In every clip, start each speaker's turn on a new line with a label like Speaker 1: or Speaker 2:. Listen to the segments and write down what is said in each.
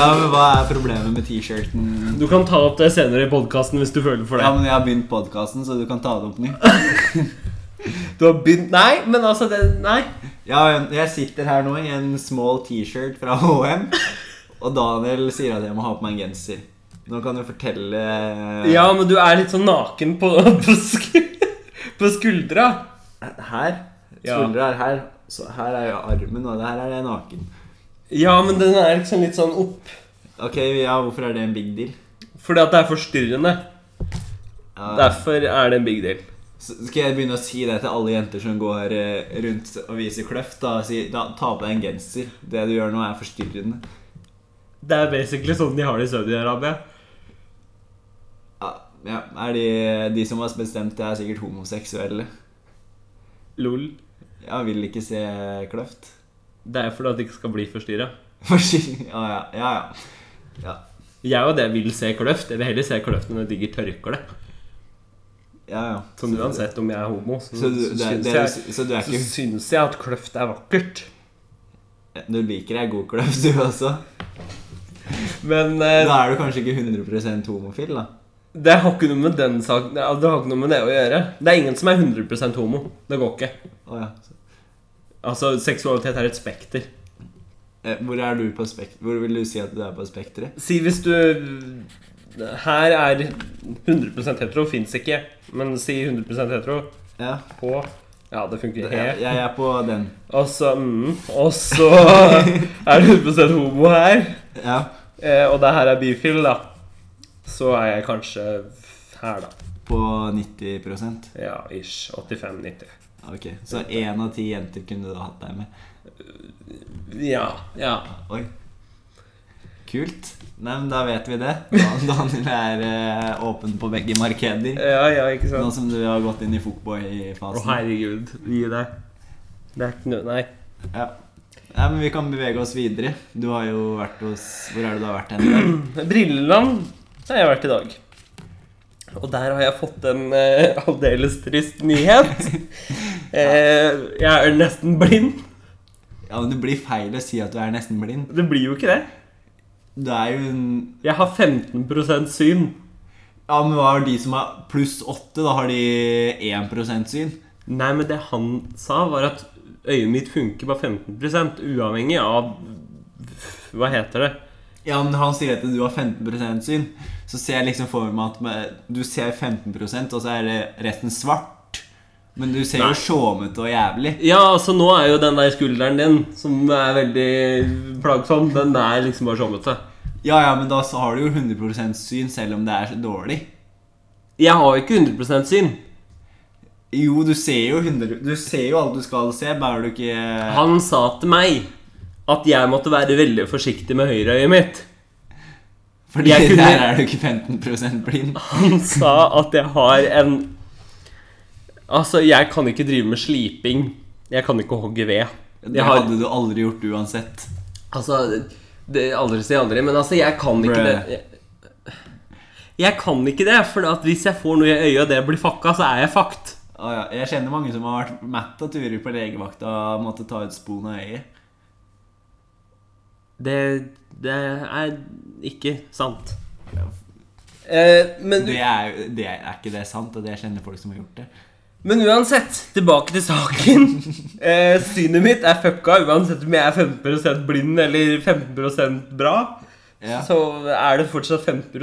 Speaker 1: Ja, men Hva er problemet med T-shirten?
Speaker 2: Du kan ta opp det senere i podkasten hvis du føler for det.
Speaker 1: Ja, men Jeg har begynt podkasten, så du kan ta det opp ny.
Speaker 2: Du har begynt Nei, men altså det, Nei.
Speaker 1: Ja, jeg sitter her nå i en small T-shirt fra HM, og Daniel sier at jeg må ha på meg en genser. Nå kan du fortelle eh,
Speaker 2: Ja, men du er litt sånn naken på, på, sku- på skuldra.
Speaker 1: Her.
Speaker 2: Ja.
Speaker 1: Skuldra er her. Så her er jo armen, og her er jeg naken.
Speaker 2: Ja, men den er liksom litt sånn opp.
Speaker 1: Ok, ja, hvorfor er det en big deal?
Speaker 2: Fordi at det er forstyrrende.
Speaker 1: Ja.
Speaker 2: Derfor er det en big deal.
Speaker 1: Så skal jeg begynne å si det til alle jenter som går eh, rundt og viser kløft? Da, si, da Ta på deg en genser. Det du gjør nå, er forstyrrende.
Speaker 2: Det er basically sånn de har det i Saudi-Arabia.
Speaker 1: Ja, ja. Er de, de som har bestemt det, er sikkert homoseksuelle.
Speaker 2: Lol.
Speaker 1: Ja, vil ikke se kløft.
Speaker 2: Det er fordi at de ikke skal bli forstyrra.
Speaker 1: Forstyrr- Ja, ja, ja, ja. ja.
Speaker 2: Jeg og det vil se kløft. Jeg vil heller se kløft enn et digert tørkle.
Speaker 1: Ja, ja.
Speaker 2: Sånn uansett om jeg er homo, så,
Speaker 1: Så du,
Speaker 2: så
Speaker 1: det,
Speaker 2: syns
Speaker 1: det,
Speaker 2: jeg,
Speaker 1: så du er
Speaker 2: så
Speaker 1: ikke
Speaker 2: syns jeg at kløft er vakkert.
Speaker 1: Du liker ei god kløft, du også?
Speaker 2: Men eh,
Speaker 1: Da er du kanskje ikke 100 homofil, da.
Speaker 2: Det har ikke noe med den saken Det har ikke noe med det å gjøre. Det er ingen som er 100 homo. Det går ikke.
Speaker 1: Å, ja.
Speaker 2: Altså, Seksualitet er et spekter.
Speaker 1: Eh, Hvor er du på spek Hvor vil du si at du er på spekteret?
Speaker 2: Si hvis du Her er 100 hetero. Fins ikke. Men si 100 hetero
Speaker 1: Ja.
Speaker 2: på Ja, det funker.
Speaker 1: Jeg,
Speaker 2: He.
Speaker 1: jeg er på den.
Speaker 2: Og så mm, Og så er du 100 homo her.
Speaker 1: Ja.
Speaker 2: Eh, og det her er bifil, da. Så er jeg kanskje her, da.
Speaker 1: På 90
Speaker 2: Ja, ish. 85-90.
Speaker 1: Ok, Så én av ti jenter kunne du hatt deg med.
Speaker 2: Ja. ja.
Speaker 1: Oi. Kult. Nei, men da vet vi det. Dan- Daniel er eh, åpen på begge markeder.
Speaker 2: Ja, ja, ikke sant?
Speaker 1: Nå som du har gått inn i
Speaker 2: Å,
Speaker 1: footboy-fasen.
Speaker 2: herregud. Gi deg. Det er ikke noe Nei.
Speaker 1: Ja. Nei, men vi kan bevege oss videre. Du har jo vært hos Hvor er det du har vært hen i dag?
Speaker 2: Brilleland har jeg vært i dag. Og der har jeg fått en eh, aldeles trist nyhet. eh, jeg er nesten blind.
Speaker 1: Ja, men Det blir feil å si at du er nesten blind.
Speaker 2: Det blir jo ikke det.
Speaker 1: Du er jo en
Speaker 2: Jeg har 15 syn.
Speaker 1: Ja, men hva har de som har pluss åtte? Da har de 1 syn.
Speaker 2: Nei, men det han sa, var at øyet mitt funker på 15 uavhengig av Hva heter det?
Speaker 1: Ja, men han sier at du har 15 syn. Så ser jeg liksom for meg at med, du ser 15 og så er det resten svart. Men du ser
Speaker 2: Nei.
Speaker 1: jo sjåmete og jævlig.
Speaker 2: Ja, altså nå er jo den der skulderen din, som er veldig plagsom, den er liksom bare sjommete.
Speaker 1: Ja, ja, men da så har du jo 100 syn selv om det er så dårlig.
Speaker 2: Jeg har jo ikke 100 syn.
Speaker 1: Jo, du ser jo 100 Du ser jo alt du skal se, bare du ikke
Speaker 2: Han sa til meg at jeg måtte være veldig forsiktig med høyreøyet mitt.
Speaker 1: Fordi
Speaker 2: jeg kunne-
Speaker 1: der er du ikke 15 blind.
Speaker 2: Han sa at jeg har en Altså, jeg kan ikke drive med sliping. Jeg kan ikke hogge ved.
Speaker 1: Det
Speaker 2: Jeg har,
Speaker 1: hadde du aldri gjort uansett.
Speaker 2: altså det, Aldri si aldri, men altså, jeg kan ikke
Speaker 1: Bruh.
Speaker 2: det. Jeg kan ikke det, for at hvis jeg får noe i øyet og det blir fucka, så er jeg fucked.
Speaker 1: Å ja, jeg kjenner mange som har vært mett av turer på legevakta og måtte ta ut spoen av øyet.
Speaker 2: Det, det er ikke sant. Eh, men
Speaker 1: Det er, jo- det er, er ikke det sant, og det kjenner folk som har gjort det.
Speaker 2: Men uansett, tilbake til saken. Eh, synet mitt er fucka uansett om jeg er 15 blind eller 15 bra.
Speaker 1: Ja.
Speaker 2: Så er det fortsatt 15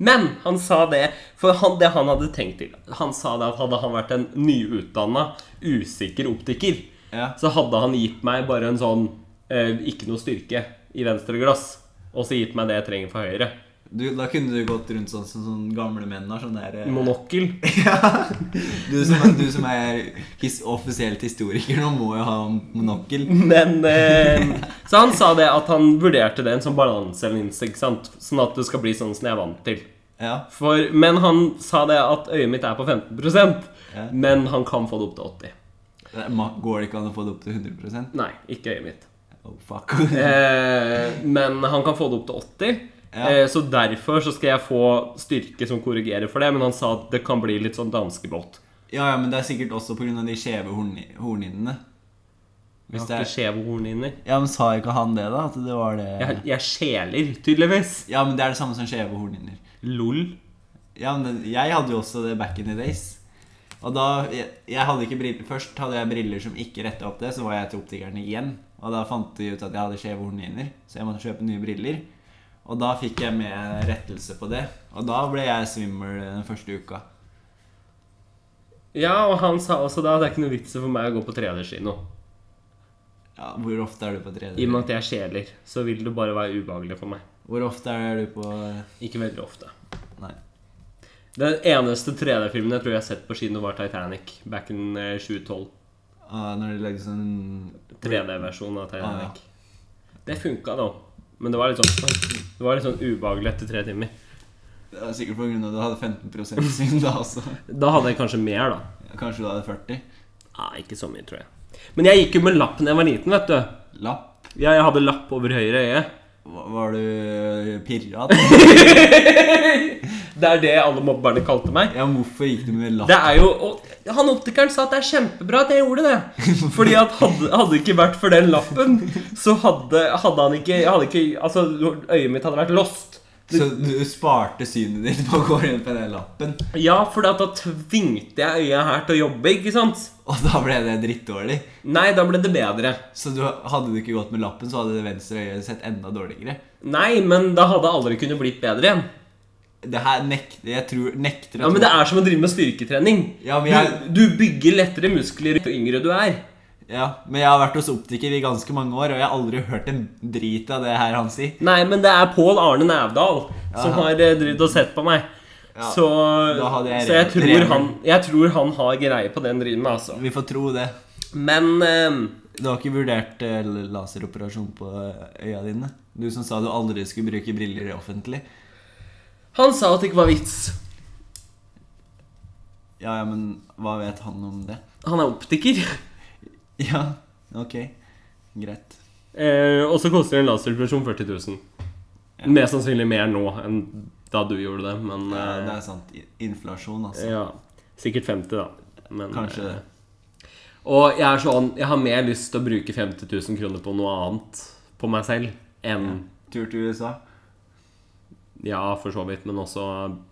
Speaker 2: Men han sa det For han, det han hadde tenkt til Han sa det at hadde han vært en nyutdanna, usikker optiker,
Speaker 1: Ja.
Speaker 2: så hadde han gitt meg bare en sånn eh, ikke noe styrke i venstre glass, og så gitt meg det jeg trenger for høyre.
Speaker 1: Du, da kunne du gått rundt sånn som sånn gamle menn har. Sånn der, eh,
Speaker 2: Monokkel.
Speaker 1: ja. du, som, er- du som er his, offisielt historiker nå, må jo ha monokkel.
Speaker 2: Men eh, Så han sa det at han vurderte det en sånn balanselinse, ikke sant? Sånn at det skal bli sånn som jeg er vant til.
Speaker 1: Ja.
Speaker 2: For, men han sa det at øyet mitt er på 15
Speaker 1: Ja.
Speaker 2: men han kan få det opp til 80
Speaker 1: Det er ma- Går det ikke an å få det opp til 100
Speaker 2: Nei, ikke øyet mitt.
Speaker 1: Oh, fuck.
Speaker 2: Eh, men han kan få det opp til 80
Speaker 1: Ja.
Speaker 2: eh, så derfor så skal jeg få styrke som korrigerer for det. Men han sa at det kan bli litt sånn danskebåt.
Speaker 1: Ja, ja, men det er sikkert også pga. de skjeve horn- hornhinnene.
Speaker 2: Jeg
Speaker 1: Hvis
Speaker 2: har
Speaker 1: det
Speaker 2: ikke
Speaker 1: er,
Speaker 2: skjevhorn inni.
Speaker 1: ja, men Sa ikke han det, da? At det var
Speaker 2: Jeg,
Speaker 1: det
Speaker 2: jeg skjeler, tydeligvis.
Speaker 1: Ja, men det er det samme som skjeve hornhinner.
Speaker 2: Lol.
Speaker 1: Ja, men den- jeg hadde jo også det back in the days. Og da, jeg, jeg hadde ikke briller Først hadde jeg briller som ikke retta opp det, så var jeg til optikeren igjen. Og da fant de ut at jeg hadde skjeve hornhinner, så jeg måtte kjøpe nye briller. Og da fikk jeg med rettelse på det. Og da ble jeg svimmel den første uka.
Speaker 2: Ja, og han sa også da at det er ikke noe vits for meg å gå på 3D-kino.
Speaker 1: Ja, hvor ofte er du på 3D?
Speaker 2: I og med at jeg skjeler, så vil det bare være ubehagelig for meg.
Speaker 1: Hvor ofte er du på
Speaker 2: Ikke veldig ofte.
Speaker 1: Nei.
Speaker 2: Den eneste 3D-filmen jeg tror jeg har sett på kino, var Titanic. Back in eh, 2012.
Speaker 1: Ah, når de lagde sånn
Speaker 2: 3D-versjon av Titanic. Det funka, da. Men det var litt sånn Det var litt sånn ubehagelig etter tre timer.
Speaker 1: Det var sikkert på grunn av at du hadde 15 svinn da også.
Speaker 2: Da hadde jeg kanskje mer, da.
Speaker 1: Kanskje du hadde 40?
Speaker 2: Nei, ikke så mye, tror jeg. Men jeg gikk jo med lapp da jeg var liten, vet du.
Speaker 1: Lapp?
Speaker 2: Ja, jeg hadde lapp over høyre øye.
Speaker 1: Var var du pirra?
Speaker 2: Det er det alle mobberne kalte meg.
Speaker 1: Ja, men hvorfor gikk du med lapp?
Speaker 2: Det er jo, og Han optikeren sa at det er kjempebra at jeg gjorde det. Fordi at hadde, hadde det ikke vært for den lappen, så hadde, hadde han ikke, jeg hadde ikke Altså, øyet mitt hadde vært lost.
Speaker 1: Så du sparte synet ditt på å gå rundt med den lappen?
Speaker 2: Ja, for da tvingte jeg øyet her til å jobbe, ikke sant?
Speaker 1: Og da ble det drittdårlig?
Speaker 2: Nei, da ble det bedre.
Speaker 1: Så du, hadde du ikke gått med lappen, så hadde det venstre øyet sett enda dårligere?
Speaker 2: Nei, men da hadde jeg aldri kunnet blitt bedre igjen.
Speaker 1: Det her nekter jeg tror, nekter å
Speaker 2: Ja, Men
Speaker 1: tro-
Speaker 2: det er som å drive med styrketrening.
Speaker 1: Ja, men jeg-
Speaker 2: du, du bygger lettere muskler jo yngre du er.
Speaker 1: ja, men jeg har vært hos optiker i ganske mange år, og jeg har aldri hørt en drit av det her han sier.
Speaker 2: Nei, men det er Pål Arne Nævdal som har eh, drevet og sett på meg.
Speaker 1: Ja,
Speaker 2: Så,
Speaker 1: da hadde jeg
Speaker 2: så jeg,
Speaker 1: revet-
Speaker 2: tror
Speaker 1: revet.
Speaker 2: han, jeg tror han har greie på det han driver med, altså.
Speaker 1: Vi får tro det.
Speaker 2: Men eh,
Speaker 1: Du har ikke vurdert eh, laseroperasjon på eh, øya dine? Du som sa du aldri skulle bruke briller i offentlig.
Speaker 2: han sa at det ikke var vits.
Speaker 1: Ja, ja, men hva vet han om det?
Speaker 2: Han er optiker.
Speaker 1: Ja, ok. Greit.
Speaker 2: Eh, og så koster en laserdepresjon 40 000. Mest sannsynlig mer nå enn da du gjorde det, men
Speaker 1: Ja,
Speaker 2: eh,
Speaker 1: det er sant. I- Inflasjon, altså.
Speaker 2: Ja, sikkert 50 da Men, eh,
Speaker 1: Kanskje det.
Speaker 2: Og jeg er sånn, jeg har mer lyst til å bruke 50 000 kroner på noe annet På meg selv Enn,
Speaker 1: Tur til USA.
Speaker 2: ja, for så vidt Men også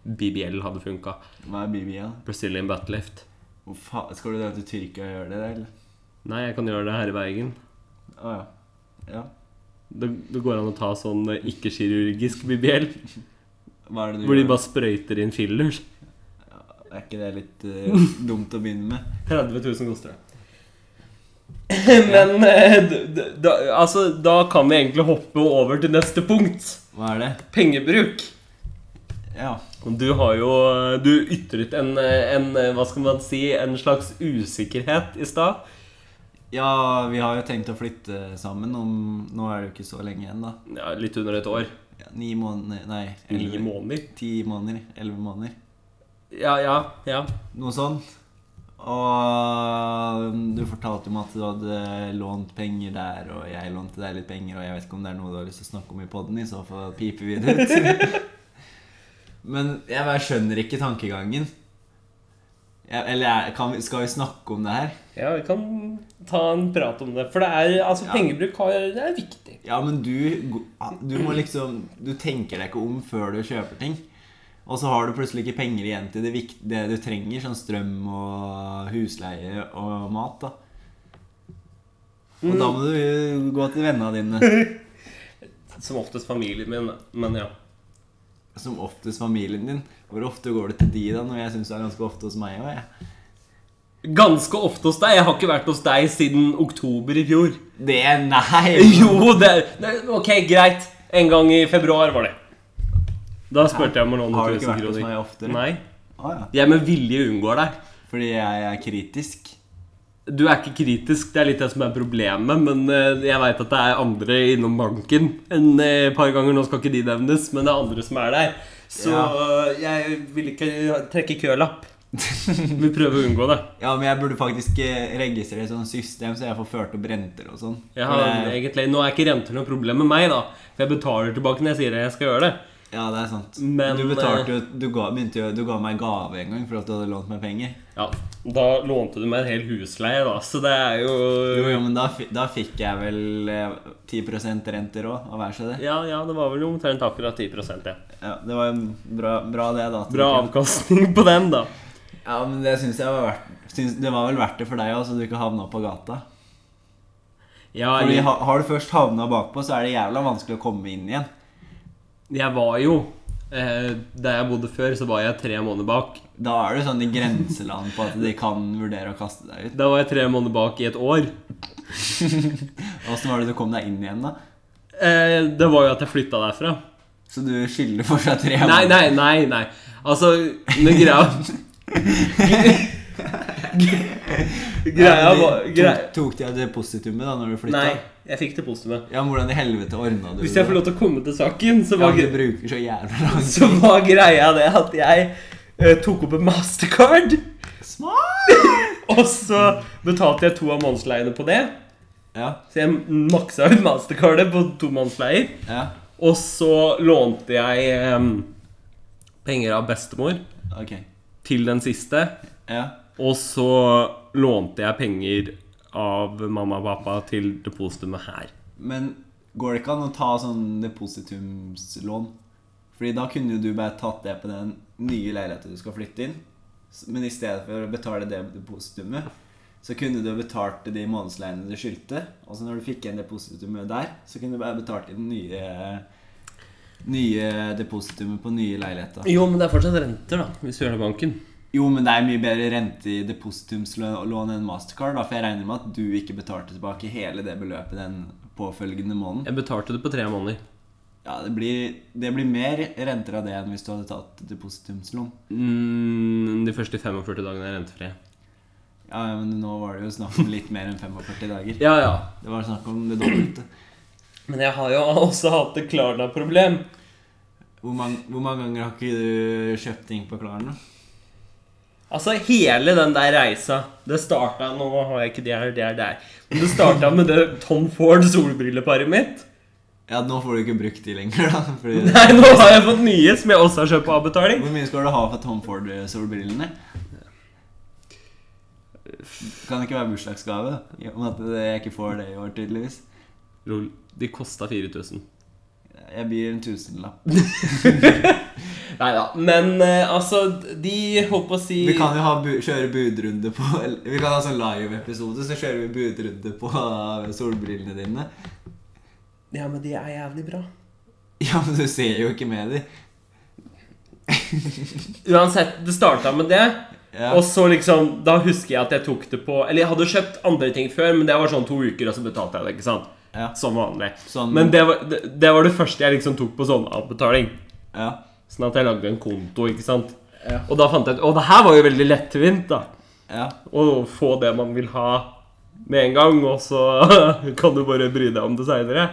Speaker 2: BBL hadde funket
Speaker 1: Hva er BBL?
Speaker 2: Brazilian butt lift
Speaker 1: Hvor faen, Skal du dra til Tyrkia og gjøre det, eller?
Speaker 2: Nei, jeg kan gjøre det her i Bergen
Speaker 1: Å ja. ja.
Speaker 2: det, det går an å ta sånn eh, ikke-kirurgisk BBL
Speaker 1: Hva er det du
Speaker 2: Hvor de
Speaker 1: gjør?
Speaker 2: bare sprøyter inn filler
Speaker 1: Er ikke det litt eh, dumt å begynne med?
Speaker 2: 30 000 koster det Men eh, d- d- da, altså, da kan vi egentlig hoppe over til neste punkt
Speaker 1: Hva er det?
Speaker 2: Pengebruk
Speaker 1: Ja.
Speaker 2: Du har jo eh, Du ytret en, eh, en Hva skal man si En slags usikkerhet i stad.
Speaker 1: ja, vi har jo tenkt å flytte sammen om Nå er det jo ikke så lenge igjen, da.
Speaker 2: Ja, litt under et år.
Speaker 1: Ja, ni måneder Nei,
Speaker 2: Ni
Speaker 1: elleve-
Speaker 2: måneder.
Speaker 1: ti måneder. Elleve måneder.
Speaker 2: Ja, ja. ja
Speaker 1: Noe sånt. Og du fortalte meg at du hadde lånt penger der, og jeg lånte deg litt penger, og jeg vet ikke om det er noe du har lyst til å snakke om i poden, i så fall piper vi det ut. Men jeg bare skjønner ikke tankegangen. Jeg, eller jeg- kan, vi- skal vi snakke om det her?
Speaker 2: Ja, Vi kan ta en prat om det. For det er altså
Speaker 1: Ja.
Speaker 2: pengebruk har, det er viktig.
Speaker 1: Ja, men du, du må liksom Du tenker deg ikke om før du kjøper ting. Og så har du plutselig ikke penger igjen til det, vikt, det du trenger, sånn strøm og husleie og mat. da Og da må du gå til vennene dine,
Speaker 2: Som oftest familien min, men ja.
Speaker 1: som oftest familien din. Hvor ofte går du til de, da? Når jeg syns du er ganske ofte hos meg òg, jeg.
Speaker 2: Ganske ofte hos deg. Jeg har ikke vært hos deg siden oktober i fjor.
Speaker 1: Det Nei!
Speaker 2: Jo, det, det Ok, greit. En gang i februar var det. Da spurte jeg om å låne
Speaker 1: Har du ikke
Speaker 2: 1000
Speaker 1: vært hos
Speaker 2: kroner.
Speaker 1: meg oftere?
Speaker 2: Nei.
Speaker 1: Å ja.
Speaker 2: Jeg med vilje unngår deg.
Speaker 1: Fordi jeg er kritisk.
Speaker 2: Du er ikke kritisk, det er litt det som er problemet, men eh, jeg veit at det er andre innom banken en eh, par ganger. Nå skal ikke de nevnes, men det er andre som er der. Så eh, jeg vil ikke trekke kølapp. Vi prøver å unngå det.
Speaker 1: Ja, men jeg burde faktisk eh, registrere et sånt system, så jeg får ført opp renter og sånn.
Speaker 2: Jeg
Speaker 1: For
Speaker 2: har
Speaker 1: det er-
Speaker 2: egentlig, Nå er ikke renter noe problem med meg, da. For jeg betaler tilbake når jeg sier at jeg skal gjøre det.
Speaker 1: Ja, det er sant.
Speaker 2: Men, eh,
Speaker 1: du betalte jo Du ga, begynte jo, du ga meg gave en gang for at du hadde lånt meg penger.
Speaker 2: Ja, Da lånte du meg en hel husleie, da, så det er jo
Speaker 1: Jo, jo, men da, fi- da fikk jeg vel eh, 10 renter òg, av hver seg det.
Speaker 2: Ja, ja, det var vel omtrent akkurat 10 ja.
Speaker 1: Ja, det var jo bra, bra det, da. at du
Speaker 2: Bra
Speaker 1: ikke-
Speaker 2: avkastning på den, da.
Speaker 1: Ja, men det syns jeg var verdt syns, Det var vel verdt det for deg òg, så du ikke havna på gata.
Speaker 2: Ja,
Speaker 1: Fordi
Speaker 2: jeg,
Speaker 1: ha, Har du først havna bakpå, så er det jævla vanskelig å komme inn igjen.
Speaker 2: jeg var jo eh, Der jeg bodde før, så var jeg tre måneder bak.
Speaker 1: Da er du sånn i grenseland på at de kan vurdere å kaste deg ut.
Speaker 2: Da var jeg tre måneder bak i et år.
Speaker 1: Åssen var det du kom deg inn igjen, da?
Speaker 2: Eh, det var jo at jeg flytta derfra.
Speaker 1: Så du skylder fortsatt tre
Speaker 2: Nei, nei, nei. nei Altså, men greia Greia
Speaker 1: greia.
Speaker 2: var greia-
Speaker 1: Tok, tok de av depositumet da når du flytta?
Speaker 2: Nei, jeg fikk det positive.
Speaker 1: Ja, men hvordan i helvete ordna du
Speaker 2: Hvis jeg får lov til å komme til saken, så
Speaker 1: ja,
Speaker 2: var,
Speaker 1: men Du
Speaker 2: gre-
Speaker 1: bruker så jævla lang
Speaker 2: så var greia det at jeg eh, tok opp en mastercard,
Speaker 1: Smart!
Speaker 2: og så betalte jeg to av månedsleiene på det.
Speaker 1: Ja,
Speaker 2: Så jeg maksa ut mastercardet på to månedsleier.
Speaker 1: ja,
Speaker 2: Og så lånte jeg em, penger av bestemor
Speaker 1: ok.
Speaker 2: til den siste.
Speaker 1: Ja.
Speaker 2: Og så lånte jeg penger av mamma og pappa til depositumet her.
Speaker 1: Men går det ikke an å ta sånn depositumslån? Fordi da kunne jo du bare tatt det på den nye leiligheten du skal flytte inn. S- Men i stedet for å betale det depositumet, så kunne du ha betalt de månedsleiene du skyldte. Og så når du fikk igjen depositumet der, så kunne du bare betalt i den nye, nye depositumet på nye leiligheter.
Speaker 2: Jo, men det er fortsatt renter, da, hvis du gjør det i banken.
Speaker 1: Jo, men det er mye bedre rente i depositumslån enn Mastercard, da, for jeg regner med at du ikke betalte tilbake hele det beløpet den påfølgende måneden.
Speaker 2: Jeg betalte det på tre måneder.
Speaker 1: Ja, det blir, det blir mer renter av det enn hvis du hadde tatt depositumslån.
Speaker 2: Mm, de første 45 dagene er rentefrie.
Speaker 1: Ja, ja, men nå var det jo snakk om litt mer enn 45 dager.
Speaker 2: Ja, ja.
Speaker 1: Det var snakk om det dobbelte.
Speaker 2: Men jeg har jo også hatt et Klarna-problem.
Speaker 1: Hvor mange, hvor mange ganger har ikke du kjøpt ting på Klarna?
Speaker 2: Altså, hele den der reisa Det starta Nå har jeg ikke det her, det er der. Men det starta med det Tom Ford solbrilleparet mitt.
Speaker 1: Ja, nå får du ikke brukt de lenger, da. Fordi,
Speaker 2: Nei, nå har jeg fått nye som jeg også har kjøpt på avbetaling.
Speaker 1: hvor mye skal du ha for Tom Ford-solbrillene? Kan det ikke være bursdagsgave, da? I og med at jeg ikke får det i år, tydeligvis.
Speaker 2: Lol, de kosta 4000.
Speaker 1: Jeg byr en tusenlapp.
Speaker 2: Nei da. Men eh, altså, de holdt på å si
Speaker 1: Vi kan jo ha bu kjøre budrunde på Vi kan ha sånn live-episode, så kjører vi budrunde på eh, solbrillene dine.
Speaker 2: Ja, men de er jævlig bra.
Speaker 1: Ja, men du ser jo ikke med dem.
Speaker 2: Uansett, det starta med det.
Speaker 1: Ja.
Speaker 2: Og så liksom, Da husker jeg at jeg tok det på Eller jeg hadde kjøpt andre ting før, men det var sånn to uker, og så betalte jeg det. ikke sant?
Speaker 1: Ja.
Speaker 2: Som vanlig.
Speaker 1: Sånn-
Speaker 2: Men det var det, det var det første jeg liksom tok på sånn avbetaling.
Speaker 1: Ja.
Speaker 2: Sånn at jeg lagde en konto, ikke sant.
Speaker 1: Ja.
Speaker 2: Og da fant jeg ut Å, det her var jo veldig lettvint, da.
Speaker 1: ja.
Speaker 2: Å få det man vil ha med en gang, og så kan du bare bry deg om det seinere.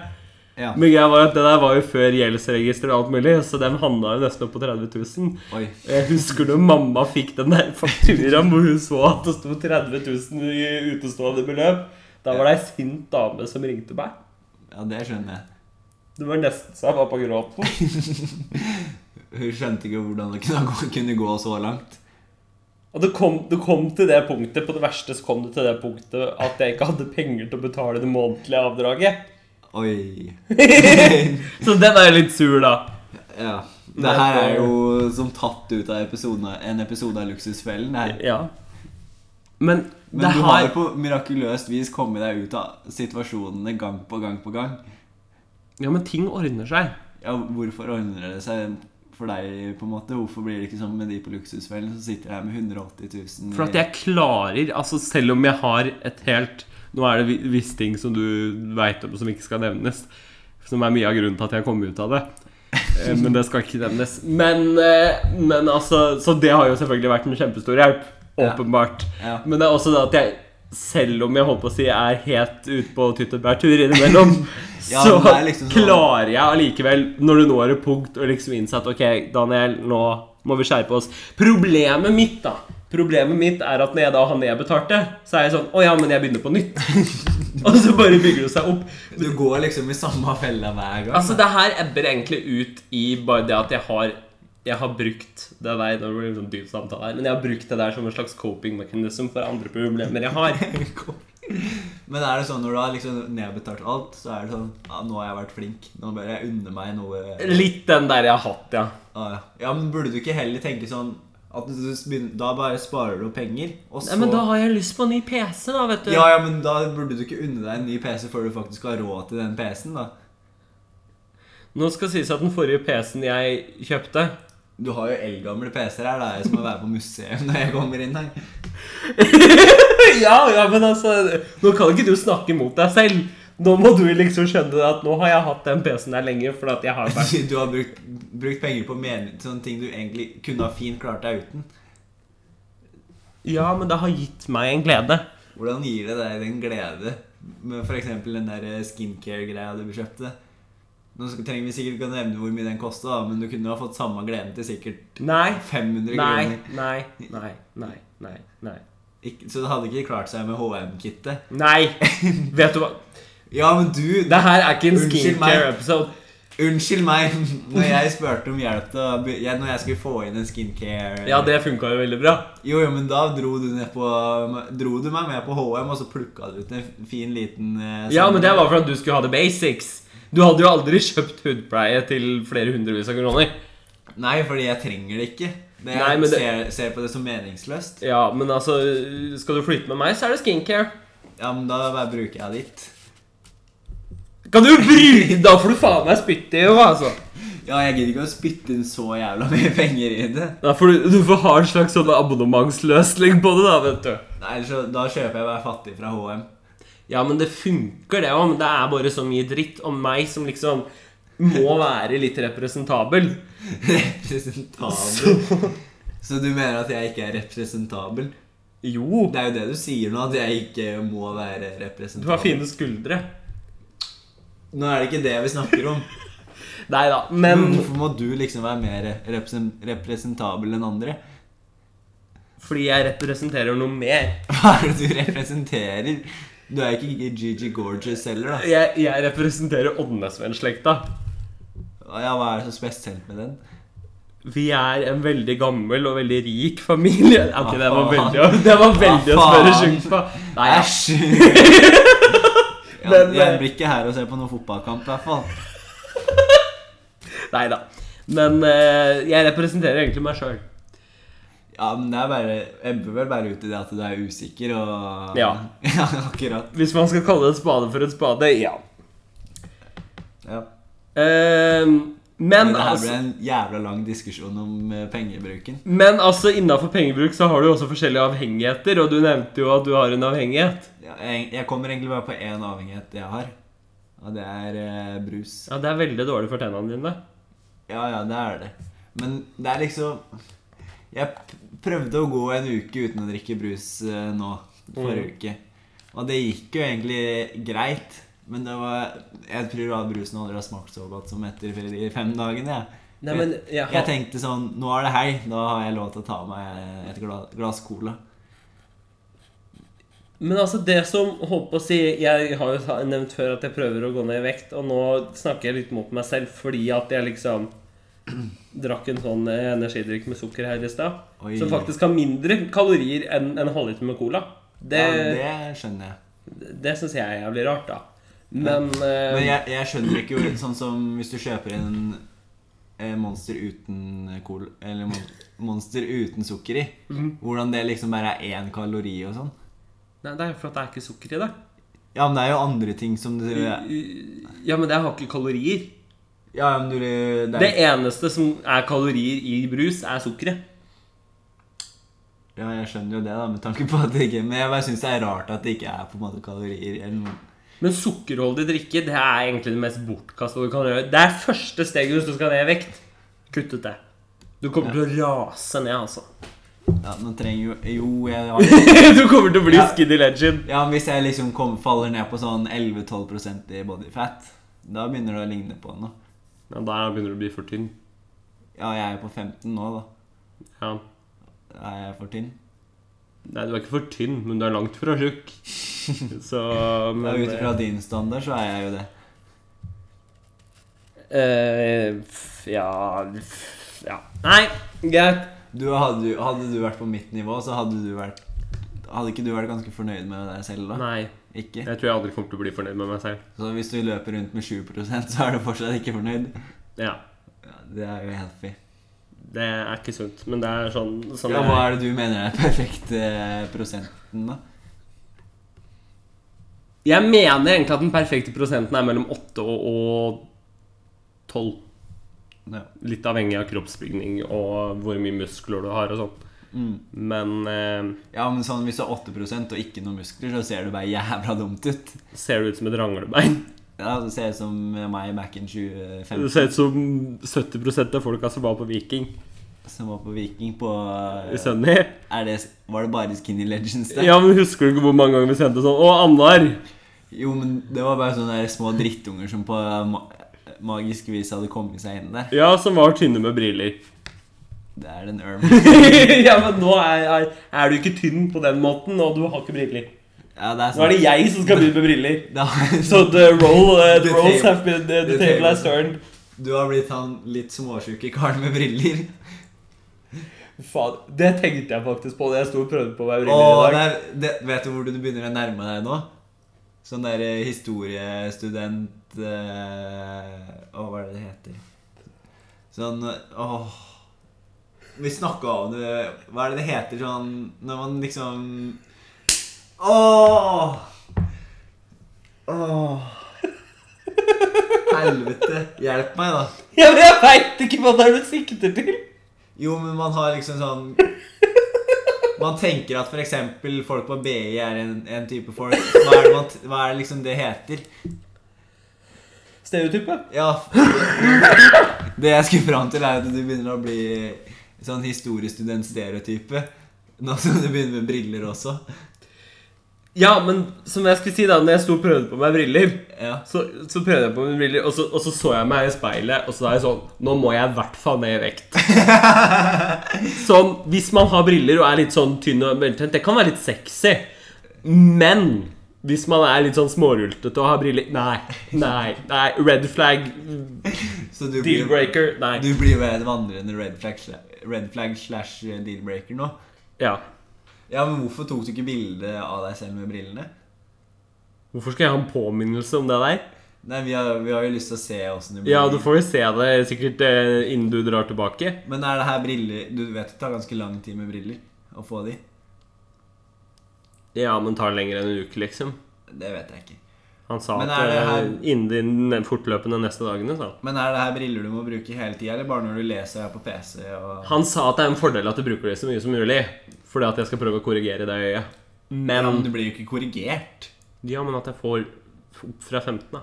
Speaker 1: ja.
Speaker 2: Men greia var at det der var jo før gjeldsregister og alt mulig, så den handla jo nesten opp på 30 000.
Speaker 1: Oi.
Speaker 2: Jeg husker når mamma fikk den der fakturaen hvor hun så at det sto 30 000 i utestående beløp. Da var det ei sint dame som ringte meg.
Speaker 1: Ja, det skjønner jeg.
Speaker 2: Det var nesten så jeg var på gråten.
Speaker 1: Hun skjønte ikke hvordan det kunne gå, kunne gå så langt.
Speaker 2: Og det kom, det kom til det punktet, på det verste så kom det til det punktet at jeg ikke hadde penger til å betale det månedlige avdraget.
Speaker 1: Oi.
Speaker 2: Så den er jo litt sur, da.
Speaker 1: Ja. Det her er jo som tatt ut av episoden, av- en episode av Luksusfellen. Det her.
Speaker 2: Ja. Men,
Speaker 1: Men
Speaker 2: det
Speaker 1: du har
Speaker 2: her
Speaker 1: jo på mirakuløst vis kommet deg ut av situasjonene gang på gang på gang.
Speaker 2: Ja, men ting ordner seg.
Speaker 1: Ja, hvorfor ordner det seg for deg, på en måte? Hvorfor blir det ikke sånn med de på luksusfellen som sitter her med 180 000 i-
Speaker 2: For at jeg klarer, altså selv om jeg har et helt Nå er det vi- visse ting som du veit om som ikke skal nevnes. Som er mye av grunnen til at jeg kom ut av det. Eh, Men det skal ikke nevnes. Men, eh, men altså Så det har jo selvfølgelig vært en kjempestor hjelp.
Speaker 1: Ja.
Speaker 2: Åpenbart.
Speaker 1: Ja.
Speaker 2: Men det er også det at jeg selv om jeg holdt på å si er helt ute på tyttebærtur innimellom,
Speaker 1: Ja,
Speaker 2: så
Speaker 1: men det er liksom sånn-
Speaker 2: klarer jeg allikevel, når du når et punkt, å liksom innse at ok, Daniel, nå må vi skjerpe oss. Problemet mitt, da, Problemet mitt er at når jeg da har nedbetalte, så er jeg sånn Å ja, men jeg begynner på nytt. og så bare bygger det seg opp.
Speaker 1: Du går liksom i samme fella hver gang.
Speaker 2: Altså, det her ebber egentlig ut i bare det at jeg har jeg har brukt det der, nå blir det en sånn dyp samtale her, men jeg har brukt det der som en slags coping mechanism for andre problemer jeg har.
Speaker 1: Men er det sånn når du har liksom nedbetalt alt, så er det sånn ja, 'Nå har jeg vært flink. Nå bør jeg unne meg noe.'
Speaker 2: Litt den der jeg har hatt, ja.
Speaker 1: Ah, ja. ja, men burde du ikke heller tenke sånn at du begynner, Da bare sparer du penger, og så
Speaker 2: Nei, men da har jeg lyst på en ny PC, da, vet du.
Speaker 1: ja, ja, men da burde du ikke unne deg en ny PC før du faktisk har råd til den PC-en, da.
Speaker 2: Nå skal sies at den forrige PC-en jeg kjøpte
Speaker 1: Du har jo eldgamle PC-er her. Det er jo som å være på museum når jeg kommer inn her.
Speaker 2: Ja, ja, men altså Nå kan ikke du snakke mot deg selv. Nå må du liksom skjønne at nå har jeg hatt den PC-en her lenge. For at jeg har vært
Speaker 1: Du har brukt, brukt penger på men- sånne ting du egentlig kunne ha fint klart deg uten.
Speaker 2: Ja, men det har gitt meg en glede.
Speaker 1: Hvordan gir det deg den glede med f.eks. den der skincare-greia du kjøpte? Nå skal- trenger vi sikkert ikke å nevne hvor mye den kosta, da, men du kunne ha fått samme gleden til sikkert
Speaker 2: Nei.
Speaker 1: 500
Speaker 2: Nei,
Speaker 1: kroner.
Speaker 2: nei, nei, nei, nei. nei.
Speaker 1: Ikke, så det hadde ikke klart seg med HM-kittet.
Speaker 2: Nei! Vet du hva?
Speaker 1: Ja, men du
Speaker 2: Det her er ikke en
Speaker 1: Unnskyld meg.
Speaker 2: skincare-episode.
Speaker 1: Unnskyld meg! Når jeg spurte om hjelp til å be- ja, Når jeg skulle få inn en skincare
Speaker 2: Ja, det funka jo veldig bra.
Speaker 1: Jo, jo, men da dro du, ned på, dro du meg med på HM, og så plukka du ut en fin, liten eh,
Speaker 2: Ja, men
Speaker 1: samling.
Speaker 2: det var for at du skulle ha the basics. Du hadde jo aldri kjøpt hudpleie til flere hundrevis av kroner.
Speaker 1: Nei, fordi jeg trenger det ikke. Det jeg
Speaker 2: Nei, men det-
Speaker 1: ser, ser på det som meningsløst.
Speaker 2: Ja, men altså Skal du flytte med meg, så er det skincare.
Speaker 1: Ja, men da bare bruker jeg ditt.
Speaker 2: Kan du bry Da får du faen meg spytte i henne, altså.
Speaker 1: Ja, jeg gidder ikke å spytte inn så jævla mye penger i det.
Speaker 2: Da får du, du får ha en slags sånn abonnementsløsning på det, da, vet du.
Speaker 1: Nei, ellers så, Da kjøper jeg Vær fattig fra HM.
Speaker 2: Ja, men det funker, det òg. Men det er bare så mye dritt om meg som liksom må være litt representabel.
Speaker 1: Representabel. Så du mener at jeg ikke er representabel?
Speaker 2: Jo,
Speaker 1: Det er jo det du sier nå, at jeg ikke må være
Speaker 2: du har
Speaker 1: representabel.
Speaker 2: fine skuldre.
Speaker 1: Nå er det ikke det vi snakker om.
Speaker 2: Nei da,
Speaker 1: Men
Speaker 2: men
Speaker 1: hvorfor må du liksom være mer represen representabel enn andre?
Speaker 2: fordi jeg representerer noe mer.
Speaker 1: Hva er det du representerer? Du er ikke Gigi Gorgeous heller, da.
Speaker 2: Jeg, jeg representerer Åndnesvenn-slekta.
Speaker 1: Ja, Hva er det så spesielt med den?
Speaker 2: Vi er en veldig gammel og veldig rik familie. Ok, det var
Speaker 1: faen?
Speaker 2: veldig, det var veldig å spørre
Speaker 1: faen?
Speaker 2: sjukt på. Nei, ja.
Speaker 1: Æsj! ja,
Speaker 2: Men, eh,
Speaker 1: jeg blir ikke her og ser på noen fotballkamp, i hvert fall.
Speaker 2: Nei da. Men eh, jeg representerer egentlig meg sjøl.
Speaker 1: Ja, men det er bare ebber vel bare ut i det at du er usikker og
Speaker 2: Ja.
Speaker 1: ja akkurat.
Speaker 2: Hvis man skal kalle en spade for en spade, ja.
Speaker 1: Ja.
Speaker 2: Eh, men,
Speaker 1: Men det her ble
Speaker 2: altså,
Speaker 1: en jævla lang diskusjon om eh, pengebruken.
Speaker 2: men altså innafor pengebruk så har du også forskjellige avhengigheter, og du nevnte jo at du har en avhengighet.
Speaker 1: Ja, Jeg, jeg kommer egentlig bare på én avhengighet jeg har, og det er eh, brus.
Speaker 2: Ja, det er veldig dårlig for tennene dine.
Speaker 1: Ja, ja, det er det. Men det er liksom Jeg p- prøvde å gå en uke uten å drikke brus eh, nå forrige uke. Og det gikk jo egentlig greit, men det var Jeg tror at brusen aldri har smakt så godt som etter de fem dagene. Jeg.
Speaker 2: Nei, men jeg har-
Speaker 1: jeg tenkte sånn Nå er det helg, da har jeg lov til å ta meg et gla- glass cola.
Speaker 2: Men altså det som holdt på å si Jeg har jo sa- nevnt før at jeg prøver å gå ned i vekt, og nå snakker jeg litt mot meg selv fordi at jeg liksom drakk en sånn eh, energidrikk med sukker her i stad.
Speaker 1: Oi.
Speaker 2: Som faktisk har mindre kalorier enn en halvliter med cola. Det,
Speaker 1: ja, det skjønner jeg.
Speaker 2: det... syns jeg er jævlig rart, da. Men, eh,
Speaker 1: Men jeg, jeg skjønner ikke hvor Sånn som hvis du kjøper en eh, Monster uten kol Eller mon- Monster uten sukker i Hvordan det liksom bare er én kalori og sånn
Speaker 2: Nei, det er jo for at det er ikke sukker i det.
Speaker 1: Ja, men det er jo andre ting som du Ja,
Speaker 2: Ja, men det har ikke kalorier.
Speaker 1: men du Det
Speaker 2: Det
Speaker 1: er,
Speaker 2: eneste som er kalorier i brus, er sukkeret.
Speaker 1: ja, jeg skjønner jo det da Med tanke på at det ikke Men jeg bare synes det er rart at det ikke er på en måte kalorier eller noe
Speaker 2: Men sukkerholdig drikke det er egentlig det mest bortkasta du kan gjøre. Det er første steget hvis du skal ned i vekt. Kutt ut det. Du kommer til å rase ned, altså.
Speaker 1: Ja, nå trenger jo Jo, jeg har
Speaker 2: du kommer til å bli
Speaker 1: Ja.
Speaker 2: skinny legend.
Speaker 1: Ja, men hvis jeg liksom kom, faller ned på sånn 11-12% i body fat Da begynner det å ligne på noe
Speaker 2: Ja, Da begynner du å bli for tynn.
Speaker 1: Ja, jeg er på 15 nå da
Speaker 2: Ja.
Speaker 1: Er jeg for tynn?
Speaker 2: Nei, du er ikke for tynn, men du er langt fra tjukk. Så
Speaker 1: Ja,
Speaker 2: men,
Speaker 1: Ut fra din standard så er jeg jo det.
Speaker 2: eh, f- ja, f- ja Nei, greit.
Speaker 1: Du, hadde, du- hadde du vært på mitt nivå, så hadde du vært Hadde ikke du vært ganske fornøyd med deg selv da?
Speaker 2: Nei.
Speaker 1: Ikke?
Speaker 2: Jeg tror jeg aldri kommer til å bli fornøyd med meg selv.
Speaker 1: Så hvis du løper rundt med 7 så er du fortsatt ikke fornøyd?
Speaker 2: Ja,
Speaker 1: Ja, det er jo healthy.
Speaker 2: Det er ikke sunt, men det er sånn, sånn
Speaker 1: Ja,
Speaker 2: jeg-
Speaker 1: hva er det du mener er perfekt eh, prosenten, da?
Speaker 2: Jeg mener egentlig at den perfekte prosenten er mellom 8 og, og 12.
Speaker 1: Ja.
Speaker 2: Litt avhengig av kroppsbygning og hvor mye muskler du har og sånn.
Speaker 1: Mm.
Speaker 2: Men eh,
Speaker 1: Ja, men sånn, Hvis du har 8 og ikke noen muskler, så ser du bare jævla dumt ut.
Speaker 2: ser du ut som et ranglebein.
Speaker 1: Ja, Du ser ut som meg back in
Speaker 2: Du
Speaker 1: 2015,
Speaker 2: ser ut som 70 av folka som var på Viking
Speaker 1: som var på Viking på
Speaker 2: i Sunny.
Speaker 1: er det, Var det bare Skinny Legends der?
Speaker 2: Ja, men husker du ikke hvor mange ganger vi sendte sånn Å, Annar!
Speaker 1: Jo, men det var bare sånne der små drittunger som på ma magisk vis hadde kommet seg inn der.
Speaker 2: Ja, som var tynne med briller.
Speaker 1: Det er den urban.
Speaker 2: ja, men nå er, er, er du ikke tynn på den måten, og du har ikke briller.
Speaker 1: Ja, det er
Speaker 2: Nå er
Speaker 1: sånn.
Speaker 2: det jeg som skal begynne med briller.
Speaker 1: Da-
Speaker 2: So the role, uh, the
Speaker 1: The
Speaker 2: roles
Speaker 1: table.
Speaker 2: have been, the,
Speaker 1: The
Speaker 2: the table has
Speaker 1: table.
Speaker 2: turned.
Speaker 1: du har blitt han litt småsjuke karen med briller.
Speaker 2: Faen, det tenkte jeg faktisk på da jeg sto og prøvde på meg briller
Speaker 1: Og
Speaker 2: i dag.
Speaker 1: det er, det, vet du hvor du begynner å nærme deg nå? Sånn der eh, historiestudent eh, Å, hva er det det heter? Sånn Åh. Vi snakka om det Hva er det det heter sånn når man liksom Åh! Åh. Helvete. Hjelp meg, da.
Speaker 2: Ja, men jeg veit ikke hva det er du sikter til!
Speaker 1: Jo, men man har liksom sånn Man tenker at f.eks. folk på BI er en, en type folk. Hva er, det man, t- hva er det liksom det heter?
Speaker 2: Stereotype.
Speaker 1: Ja f- Det jeg skulle fram til, er at du begynner å bli sånn historiestudent-stereotype. Nå som du begynner med briller også.
Speaker 2: Ja, men som jeg skulle si da når jeg sto og prøvde på meg briller,
Speaker 1: Ja.
Speaker 2: så, så prøvde jeg på meg briller, og så, og så så jeg meg i speilet, og så er jeg sånn Nå må jeg i hvert fall ned i vekt. sånn, Hvis man har briller og er litt sånn tynn og veltent, det kan være litt sexy, men hvis man er litt sånn smårultete og har briller Nei, nei, nei. Red flag,
Speaker 1: Så du blir,
Speaker 2: deal-breaker, nei.
Speaker 1: du blir jo en vandrende red flag, sla- red flag slash deal-breaker nå.
Speaker 2: Ja.
Speaker 1: Ja, men hvorfor tok du ikke bilde av deg selv med brillene?
Speaker 2: Hvorfor skal jeg ha en påminnelse om det der?
Speaker 1: Nei, vi har, vi har jo lyst til å se åssen du blir.
Speaker 2: Ja, du får jo se det sikkert eh, innen du drar tilbake.
Speaker 1: Men er det her briller Du vet det tar ganske lang tid med briller å få de?
Speaker 2: Ja, men tar lenger enn en uke, liksom.
Speaker 1: Det vet jeg ikke.
Speaker 2: Han sa
Speaker 1: Men
Speaker 2: at
Speaker 1: er det
Speaker 2: eh,
Speaker 1: her-
Speaker 2: innen de fortløpende neste dagene, sa han.
Speaker 1: Men er det her briller du må bruke hele tida, eller bare når du leser her på PC? og...
Speaker 2: Han sa at det er en fordel at du bruker det så mye som mulig, fordi at jeg skal prøve å korrigere det øyet.
Speaker 1: Ja,
Speaker 2: Men
Speaker 1: men du blir jo ikke korrigert.
Speaker 2: Ja, men at jeg får opp fra 15, da.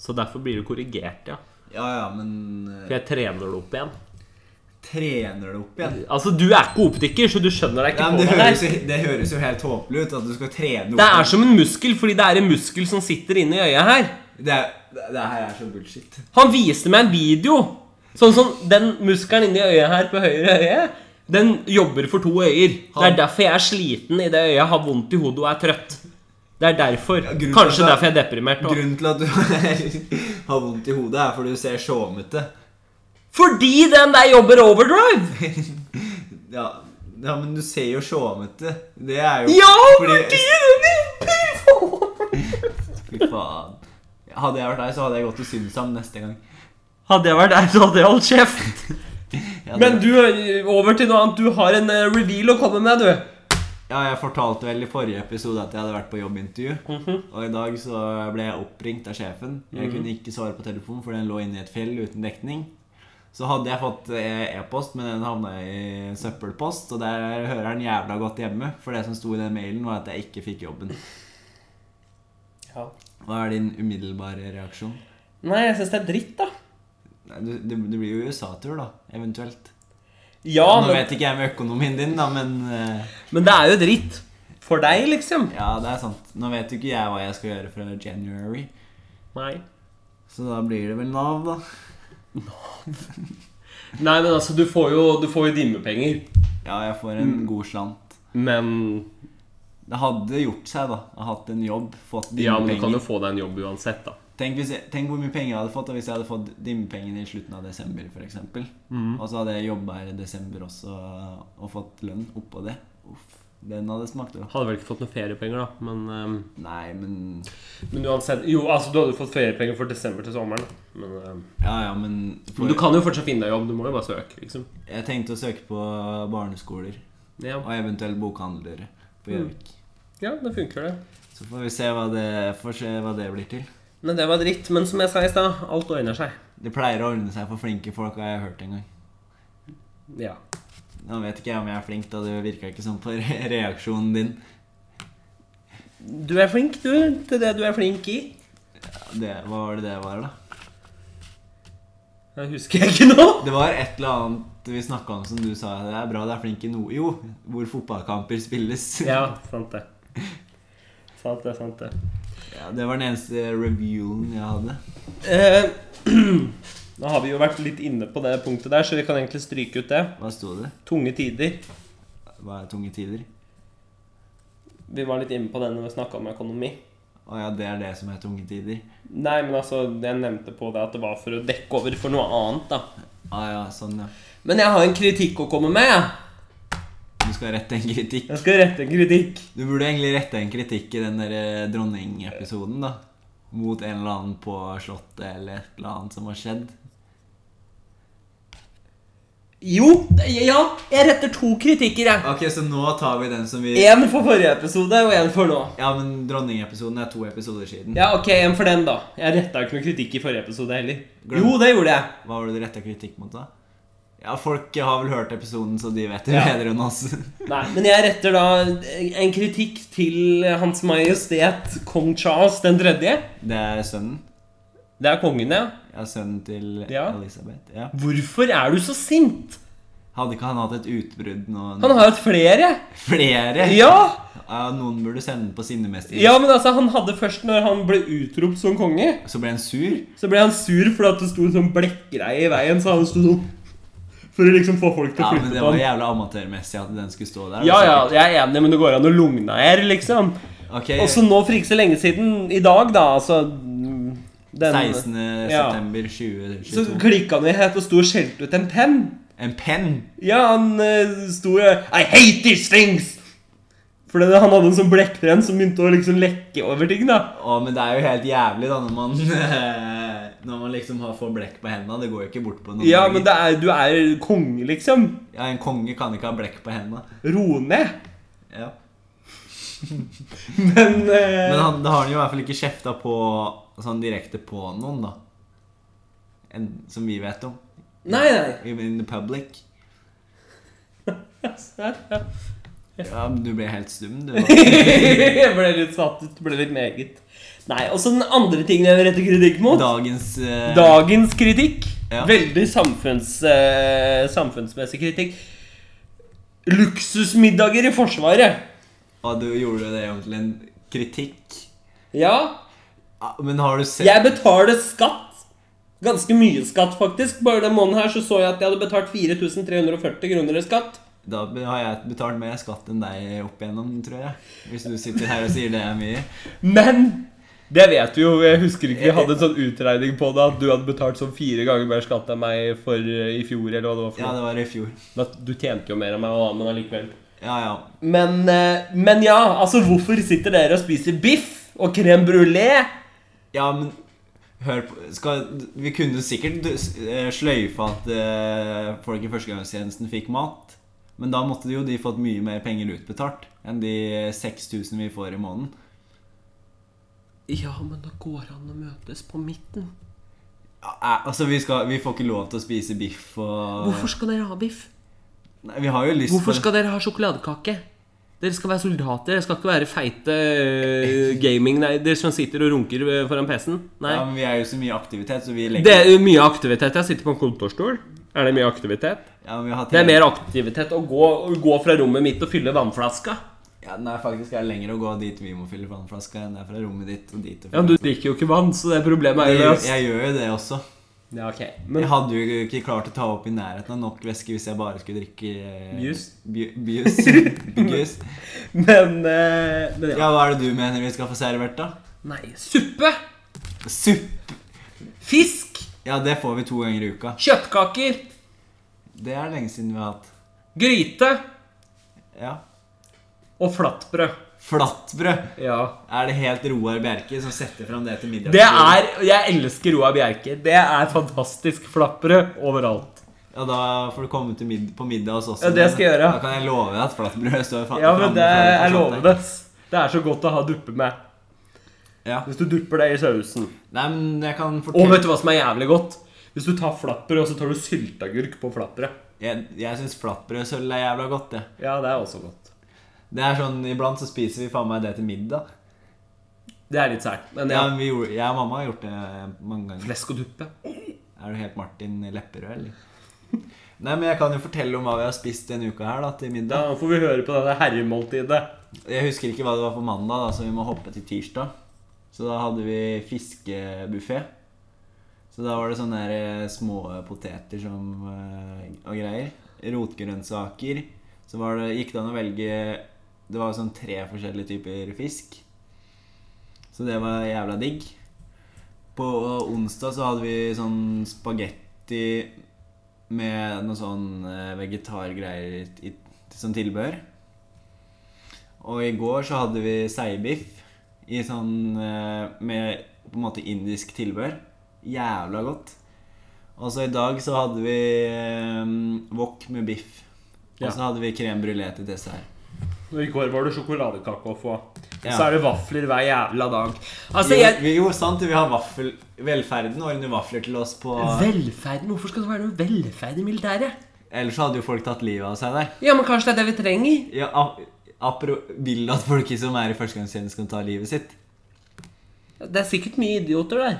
Speaker 2: Så derfor blir det korrigert, ja.
Speaker 1: Ja ja, men
Speaker 2: For
Speaker 1: eh,
Speaker 2: jeg trener det opp igjen.
Speaker 1: trener det opp igjen?
Speaker 2: Altså, du er ikke optiker, så du skjønner
Speaker 1: Nei,
Speaker 2: deg ikke
Speaker 1: men det,
Speaker 2: på det
Speaker 1: høres,
Speaker 2: der.
Speaker 1: jo- det høres jo helt tåpelig ut at du skal trene opp
Speaker 2: Det er som en muskel, fordi det er en muskel som sitter inne i øyet her.
Speaker 1: det, er- det, det her er så bullshit.
Speaker 2: Han viste meg en video. Sånn som den muskelen inni øyet her på høyre øye, den jobber for to øyer. Det er
Speaker 1: Han-
Speaker 2: derfor jeg er sliten i det øyet, jeg har vondt i hodet og er trøtt. Det er derfor.
Speaker 1: Ja, grunnen
Speaker 2: Kanskje
Speaker 1: til at-
Speaker 2: derfor jeg er deprimert. også.
Speaker 1: Grunnen til at du har vondt i hodet, er fordi du ser showmete.
Speaker 2: Fordi den der jobber overdrive!
Speaker 1: Ja, ja, men du ser jo showmete. Det er jo
Speaker 2: Ja, fordi
Speaker 1: fordi-
Speaker 2: den jobber!
Speaker 1: Fy faen. Hadde jeg vært deg, så hadde jeg gått til Synsam neste gang.
Speaker 2: Hadde jeg vært der, så hadde jeg holdt kjeft.
Speaker 1: Jeg hadde-
Speaker 2: Men du, over til noe annet. Du har en eh, reveal å komme med, du.
Speaker 1: Ja, jeg fortalte vel i forrige episode at jeg hadde vært på jobbintervju.
Speaker 2: Mhm.
Speaker 1: Og i dag så ble jeg oppringt av sjefen. Jeg kunne ikke svare på telefonen, for den lå inne i et fjell uten dekning. Så hadde jeg fått eh, e-post, men den havna i søppelpost. Og der hører den jævla godt hjemme, for det som sto i den mailen, var at jeg ikke fikk jobben. Hva er din umiddelbare reaksjon?
Speaker 2: Nei, jeg syns det er dritt, da.
Speaker 1: Nei, du- Det det blir jo USA-tur, da. Eventuelt.
Speaker 2: Ja,
Speaker 1: Nå
Speaker 2: men,
Speaker 1: vet ikke jeg med økonomien din, da, men eh,
Speaker 2: men det er jo dritt. For deg, liksom.
Speaker 1: Ja, det er sant. Nå vet jo ikke jeg hva jeg skal gjøre fra January,
Speaker 2: Nei.
Speaker 1: så da blir det vel Nav, da.
Speaker 2: Nei, men altså, du får jo, du får jo dimmepenger. Mm.
Speaker 1: Ja, jeg får en god slant.
Speaker 2: Men
Speaker 1: Det hadde gjort seg, da. Å hatt en jobb, fått
Speaker 2: ja, men du kan
Speaker 1: dimmepenger.
Speaker 2: jo få deg en jobb uansett, da.
Speaker 1: tenk, hvis jeg, tenk hvor mye penger jeg hadde fått da, hvis jeg hadde fått dimmepengene i slutten av desember, f.eks.
Speaker 2: Mm.
Speaker 1: Og så hadde jeg jobba her i desember også og fått lønn oppå det. Uff, den hadde smakt godt.
Speaker 2: Hadde vel ikke fått noen feriepenger, da, men eh,
Speaker 1: Nei, men
Speaker 2: Men uansett Jo, altså, du hadde fått feriepenger for desember til sommeren, da. Men, eh,
Speaker 1: Ja, ja, men for,
Speaker 2: men du kan jo fortsatt finne deg jobb. Du må jo bare søke, liksom.
Speaker 1: Jeg tenkte å søke på barneskoler
Speaker 2: Ja, Mm.
Speaker 1: og eventuelt bokhandlere på Gjøvik.
Speaker 2: ja det funker, det.
Speaker 1: Så får vi se hva det, får se hva det blir til.
Speaker 2: Men det var dritt. Men som jeg sa i stad, alt ordner seg.
Speaker 1: Det pleier å ordne seg for flinke folk, har jeg hørt en gang.
Speaker 2: Ja.
Speaker 1: Nå vet ikke jeg om jeg er flink, da det virka ikke sånn på re reaksjonen din.
Speaker 2: Du er flink, du, til det du er flink i.
Speaker 1: Det, hva var det det var, da?
Speaker 2: Jeg husker ikke nå.
Speaker 1: Det var et eller annet vi snakka om som du sa det er bra du er flink i noe Jo, hvor fotballkamper spilles.
Speaker 2: Ja, sant det. Sant det, sant det.
Speaker 1: Ja, det var den eneste reviewen jeg hadde.
Speaker 2: Eh, nå har vi jo vært litt inne på det punktet der, så vi kan egentlig stryke ut det.
Speaker 1: Hva sto det?
Speaker 2: Tunge tider.
Speaker 1: Hva er tunge tider?
Speaker 2: Vi var litt inne på det når vi snakka om økonomi.
Speaker 1: Å ja, det er det som er tunge tider.
Speaker 2: Nei, men altså, jeg nevnte på det at det var for å dekke over for noe annet, da.
Speaker 1: Å ja, sånn, ja.
Speaker 2: Men jeg har en kritikk å komme med, jeg.
Speaker 1: Du skal rette en kritikk.
Speaker 2: Jeg skal rette en kritikk.
Speaker 1: Du burde egentlig rette en kritikk i den der eh, dronningepisoden, da. Mot en eller annen på Slottet eller et eller annet som har skjedd.
Speaker 2: Jo, ja, jeg retter to kritikker, jeg.
Speaker 1: Ok, så nå tar vi den som vi
Speaker 2: Én for forrige episode og én for nå.
Speaker 1: Ja, men dronningepisoden er to episoder siden.
Speaker 2: Ja, ok, en for den, da. Jeg retta jo ikke noe kritikk i forrige episode heller.
Speaker 1: Glem.
Speaker 2: Jo, det gjorde jeg.
Speaker 1: Hva var det du retta kritikk mot, da? Ja, folk har vel hørt episoden, så de vet det
Speaker 2: Ja.
Speaker 1: bedre enn oss.
Speaker 2: Nei, men jeg retter da en kritikk til Hans Majestet Kong Charles den tredje.
Speaker 1: Det er sønnen.
Speaker 2: Det er kongen, ja.
Speaker 1: Ja, sønnen til
Speaker 2: Ja.
Speaker 1: Elisabeth. Ja.
Speaker 2: Hvorfor er du så sint?
Speaker 1: Hadde ikke han hatt et utbrudd nå?
Speaker 2: Han har jo hatt flere.
Speaker 1: Flere?
Speaker 2: Ja!
Speaker 1: Ja, noen burde sende den på sinnemester.
Speaker 2: ja, men altså, han hadde først når han ble utropt som konge.
Speaker 1: Så ble han sur.
Speaker 2: Så ble han sur fordi at det sto en sånn blekkgreie i veien, så han sto sånn For å liksom få folk til
Speaker 1: Ja,
Speaker 2: å
Speaker 1: men
Speaker 2: flytte
Speaker 1: det
Speaker 2: på
Speaker 1: var
Speaker 2: ham.
Speaker 1: jævla amatørmessig at den skulle stå der. altså.
Speaker 2: Ja, ja, jeg er enig, men det går an å lugne her, liksom.
Speaker 1: Ok,
Speaker 2: Og så nå for ikke så lenge siden, i dag, da, altså den,
Speaker 1: 16.
Speaker 2: Ja.
Speaker 1: september
Speaker 2: Så
Speaker 1: 2022.
Speaker 2: klikka han i het og sto og skjelte ut en penn.
Speaker 1: En penn!
Speaker 2: Ja, han eh, sto jo I hate these things! For det- han hadde en sånn blekkbrenn som begynte å liksom lekke over ting. da
Speaker 1: Å, men det er jo helt jævlig da når man Når man liksom har får blekk på hendene. Det går jo ikke bort på noen
Speaker 2: Ja,
Speaker 1: dager.
Speaker 2: men det er, du er konge, liksom.
Speaker 1: ja, En konge kan ikke ha blekk på hendene.
Speaker 2: Ro ned.
Speaker 1: Ja.
Speaker 2: Men, eh,
Speaker 1: Men han, da har han jo i hvert fall ikke kjefta på sånn direkte på noen, da. En, som vi vet om.
Speaker 2: Nei, nei.
Speaker 1: In the public. Ja, men Du ble helt stum, du. da.
Speaker 2: Jeg ble litt satt ut. Ble litt meget. Nei, Og så den andre tingen jeg vil rette kritikk mot.
Speaker 1: Dagens eh,
Speaker 2: Dagens kritikk.
Speaker 1: Ja.
Speaker 2: Veldig samfunns, eh, samfunnsmessig kritikk. Luksusmiddager i Forsvaret.
Speaker 1: Og du gjorde det om til en kritikk.
Speaker 2: Ja,
Speaker 1: Ja, Men har du sett
Speaker 2: jeg betaler skatt. Ganske mye skatt, faktisk. Bare den måneden her så så jeg at jeg hadde betalt 4340 kroner i skatt.
Speaker 1: Da be- har jeg betalt mer skatt enn deg opp igjennom, tror jeg. Hvis du sitter her og sier det er mye.
Speaker 2: Men det vet du jo. Jeg husker ikke vi hadde en sånn utregning på det at du hadde betalt sånn fire ganger mer skatt enn meg for eh, i fjor, eller hva det var
Speaker 1: Ja,
Speaker 2: for noe.
Speaker 1: det var i fjor.
Speaker 2: Men Du tjente jo mer enn meg, da, men allikevel.
Speaker 1: Ja, ja.
Speaker 2: Men, eh, men ja, altså hvorfor sitter dere og spiser biff og crème brulé?
Speaker 1: Ja, men hør på skal, Vi kunne sikkert du- s- eh, sløyfe at eh, folk i førstegangstjenesten fikk mat. Men da måtte jo de fått mye mer penger utbetalt enn de 6000 vi får i måneden.
Speaker 2: Ja, men da går an å møtes på midten.
Speaker 1: Ja, eh, Altså, vi, skal, vi får ikke lov til å spise biff og
Speaker 2: Hvorfor skal dere ha biff?
Speaker 1: Nei, Vi har jo lyst
Speaker 2: Hvorfor
Speaker 1: på-
Speaker 2: skal dere ha sjokoladekake? Dere skal være soldater, dere skal ikke være feite eh, gaming Nei, dere som sitter og runker eh, foran PC-en. Nei.
Speaker 1: Ja, men Vi er jo så mye aktivitet, så vi legger
Speaker 2: Det er jo mye aktivitet. Jeg sitter på en kontorstol. Er det mye aktivitet?
Speaker 1: ja, men vi har
Speaker 2: Det er mer aktivitet å gå, å gå fra rommet mitt og fylle vannflaska.
Speaker 1: Ja, nei, faktisk er det lenger å gå dit vi må fylle vannflaska enn det er fra rommet ditt og dit. og
Speaker 2: Ja, men Du drikker jo ikke vann, så det problemet er
Speaker 1: jeg,
Speaker 2: jo
Speaker 1: gjør,
Speaker 2: løst.
Speaker 1: jeg gjør jo det også.
Speaker 2: Ja, ok.
Speaker 1: Jeg
Speaker 2: Men
Speaker 1: hadde jo ikke klart å ta opp i nærheten av nok væske hvis jeg bare skulle drikke eh,
Speaker 2: Juice.
Speaker 1: bu- Juice. Juice.
Speaker 2: Men, eh, men ja.
Speaker 1: Ja, hva er det du mener vi skal få servert, da?
Speaker 2: Nei, suppe!
Speaker 1: Suppe!
Speaker 2: Fisk!
Speaker 1: Ja, det får vi to ganger i uka.
Speaker 2: Kjøttkaker!
Speaker 1: Det er lenge siden vi har hatt.
Speaker 2: Gryte!
Speaker 1: Ja.
Speaker 2: Og flatbrød.
Speaker 1: Flatbrød!
Speaker 2: Ja.
Speaker 1: Er det helt Roar Bjerke som setter fram det til middag?
Speaker 2: Det er Jeg elsker Roar Bjerke. Det er fantastisk flatbrød overalt.
Speaker 1: Ja, da får du komme til mid på middag hos oss.
Speaker 2: Ja, det skal jeg gjøre.
Speaker 1: Da kan jeg love deg at flatbrød står fa-
Speaker 2: Ja, men
Speaker 1: framme
Speaker 2: det
Speaker 1: for- for
Speaker 2: er
Speaker 1: kjøttdeig.
Speaker 2: lovende. Det er så godt å ha duppe med.
Speaker 1: Ja.
Speaker 2: Hvis du dupper det i sausen.
Speaker 1: Nei, men jeg kan
Speaker 2: Og
Speaker 1: fortelle
Speaker 2: vet du hva som er jævlig godt? Hvis du tar flatbrød, og så tar du sylteagurk på flatbrød.
Speaker 1: Jeg, jeg syns flatbrødsøl er jævla godt, det.
Speaker 2: Ja, det er også godt.
Speaker 1: Det er sånn, Iblant så spiser vi faen meg det til middag.
Speaker 2: Det er litt sært. Men
Speaker 1: Ja,
Speaker 2: ja,
Speaker 1: men vi gjorde, Jeg og mamma har gjort det mange ganger.
Speaker 2: flesk og duppe.
Speaker 1: Er du helt Martin Lepperød, eller? Nei, men jeg kan jo fortelle om hva vi har spist denne uka her, da, til
Speaker 2: Ja,
Speaker 1: middag.
Speaker 2: Nå får vi høre på dette herremåltidet.
Speaker 1: Jeg husker ikke hva det var på mandag, da, så vi må hoppe til tirsdag. Så da hadde vi fiskebuffé. Så da var det sånne der, eh, små poteter som, eh, og greier. Rotgrønnsaker. Så var det, gikk det an å velge Det var sånn tre forskjellige typer fisk. Så det var jævla digg. På onsdag så hadde vi sånn spagetti med noe sånn eh, vegetargreier i, i, som tilbehør. Og i går så hadde vi seibiff i sånn eh, med på en måte indisk tilbehør. Jævla godt. Og så i dag så hadde vi eh, wok med biff. Og
Speaker 2: Ja.
Speaker 1: så hadde vi crème brulé til dessert.
Speaker 2: Og I går var det sjokoladekake å få. Og
Speaker 1: Ja.
Speaker 2: så er det vafler hver jævla dag. Altså,
Speaker 1: Jo,
Speaker 2: jeg
Speaker 1: vi, jo, sant, vi har vaffel, velferden ordner vafler til oss på
Speaker 2: Velferden? Hvorfor skal det være noe velferd i militæret?
Speaker 1: Ellers så hadde jo folk tatt livet av seg der.
Speaker 2: Ja, men kanskje det er det vi trenger?
Speaker 1: Ja, ap- apro vil at folk som er i førstegangstjeneste, skal ta livet sitt.
Speaker 2: Det er sikkert mye idioter der.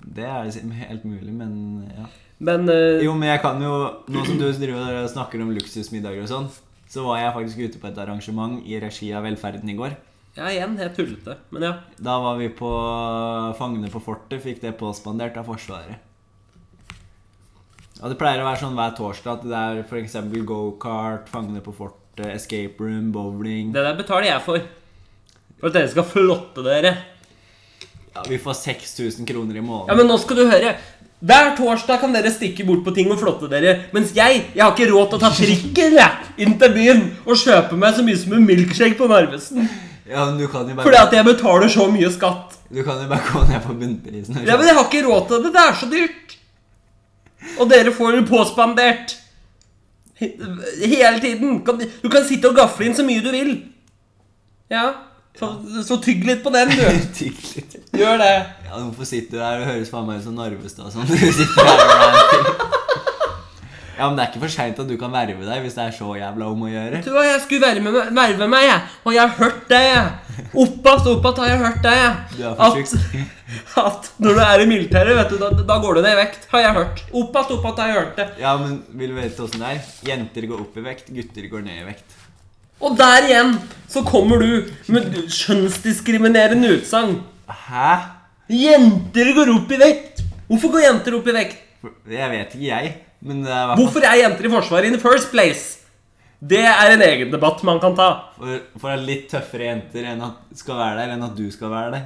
Speaker 1: Det er sim- helt mulig, men ja.
Speaker 2: Men eh,
Speaker 1: Jo, men jeg kan jo Nå som du driver og snakker om luksusmiddager og sånn, så var jeg faktisk ute på et arrangement i regi av Velferden i går.
Speaker 2: ja, igjen, jeg tullete. Men ja.
Speaker 1: Da var vi på Fangene på fortet, fikk det påspandert av Forsvaret. Og det pleier å være sånn hver torsdag at det er f.eks. gokart, Fangene på fortet, escape room, bowling
Speaker 2: Det der betaler jeg for. For at dere skal flotte dere.
Speaker 1: ja, Vi får 6000 kroner i
Speaker 2: Ja,
Speaker 1: måneden.
Speaker 2: men nå skal du høre. Hver torsdag kan dere stikke bort på ting og flotte dere. Mens jeg jeg har ikke råd til å ta trikken jeg, inn til byen og kjøpe meg så mye som en milkshake på Narvesen.
Speaker 1: Ja, men du kan jo
Speaker 2: Fordi
Speaker 1: bare,
Speaker 2: at jeg betaler så mye skatt.
Speaker 1: du kan jo bare gå ned på bunnprisen. og
Speaker 2: Ja, men jeg har ikke råd til det. Det er så dyrt. Og dere får det påspandert. He- Hele tiden. Kan- Du kan sitte og gafle inn så mye du vil. Ja. Så, så tygg litt på den, du.
Speaker 1: kjøpe- Tygg litt.
Speaker 2: Gjør det.
Speaker 1: Ja, hvorfor sitter du her og høres faen meg ut som Narvestad og sånn? Du sitter her og er- Ja, men det er ikke for seint at du kan verve deg hvis det er så jævla om å gjøre.
Speaker 2: Vet Du hva, jeg skulle verve meg, verve meg, jeg. Og jeg har hørt det, jeg. Oppast, oppast har jeg hørt det,
Speaker 1: Du
Speaker 2: jeg.
Speaker 1: er for tjukk.
Speaker 2: at når du er i militæret, vet du, da, da går du ned i vekt. Har jeg hørt. Oppast, oppast har jeg hørt det.
Speaker 1: Ja, men vil du vite åssen det er? Jenter går opp i vekt, gutter går ned i vekt.
Speaker 2: Og der igjen så kommer du med kjønnsdiskriminerende utsagn.
Speaker 1: Hæ?
Speaker 2: Jenter går opp i vekt! Hvorfor går jenter opp i vekt?
Speaker 1: Jeg vet ikke, jeg. Men det er
Speaker 2: Hvorfor er jenter i Forsvaret in the first place? Det er en egen debatt man kan ta.
Speaker 1: for, for at litt tøffere jenter enn at skal være der, enn at du skal være der.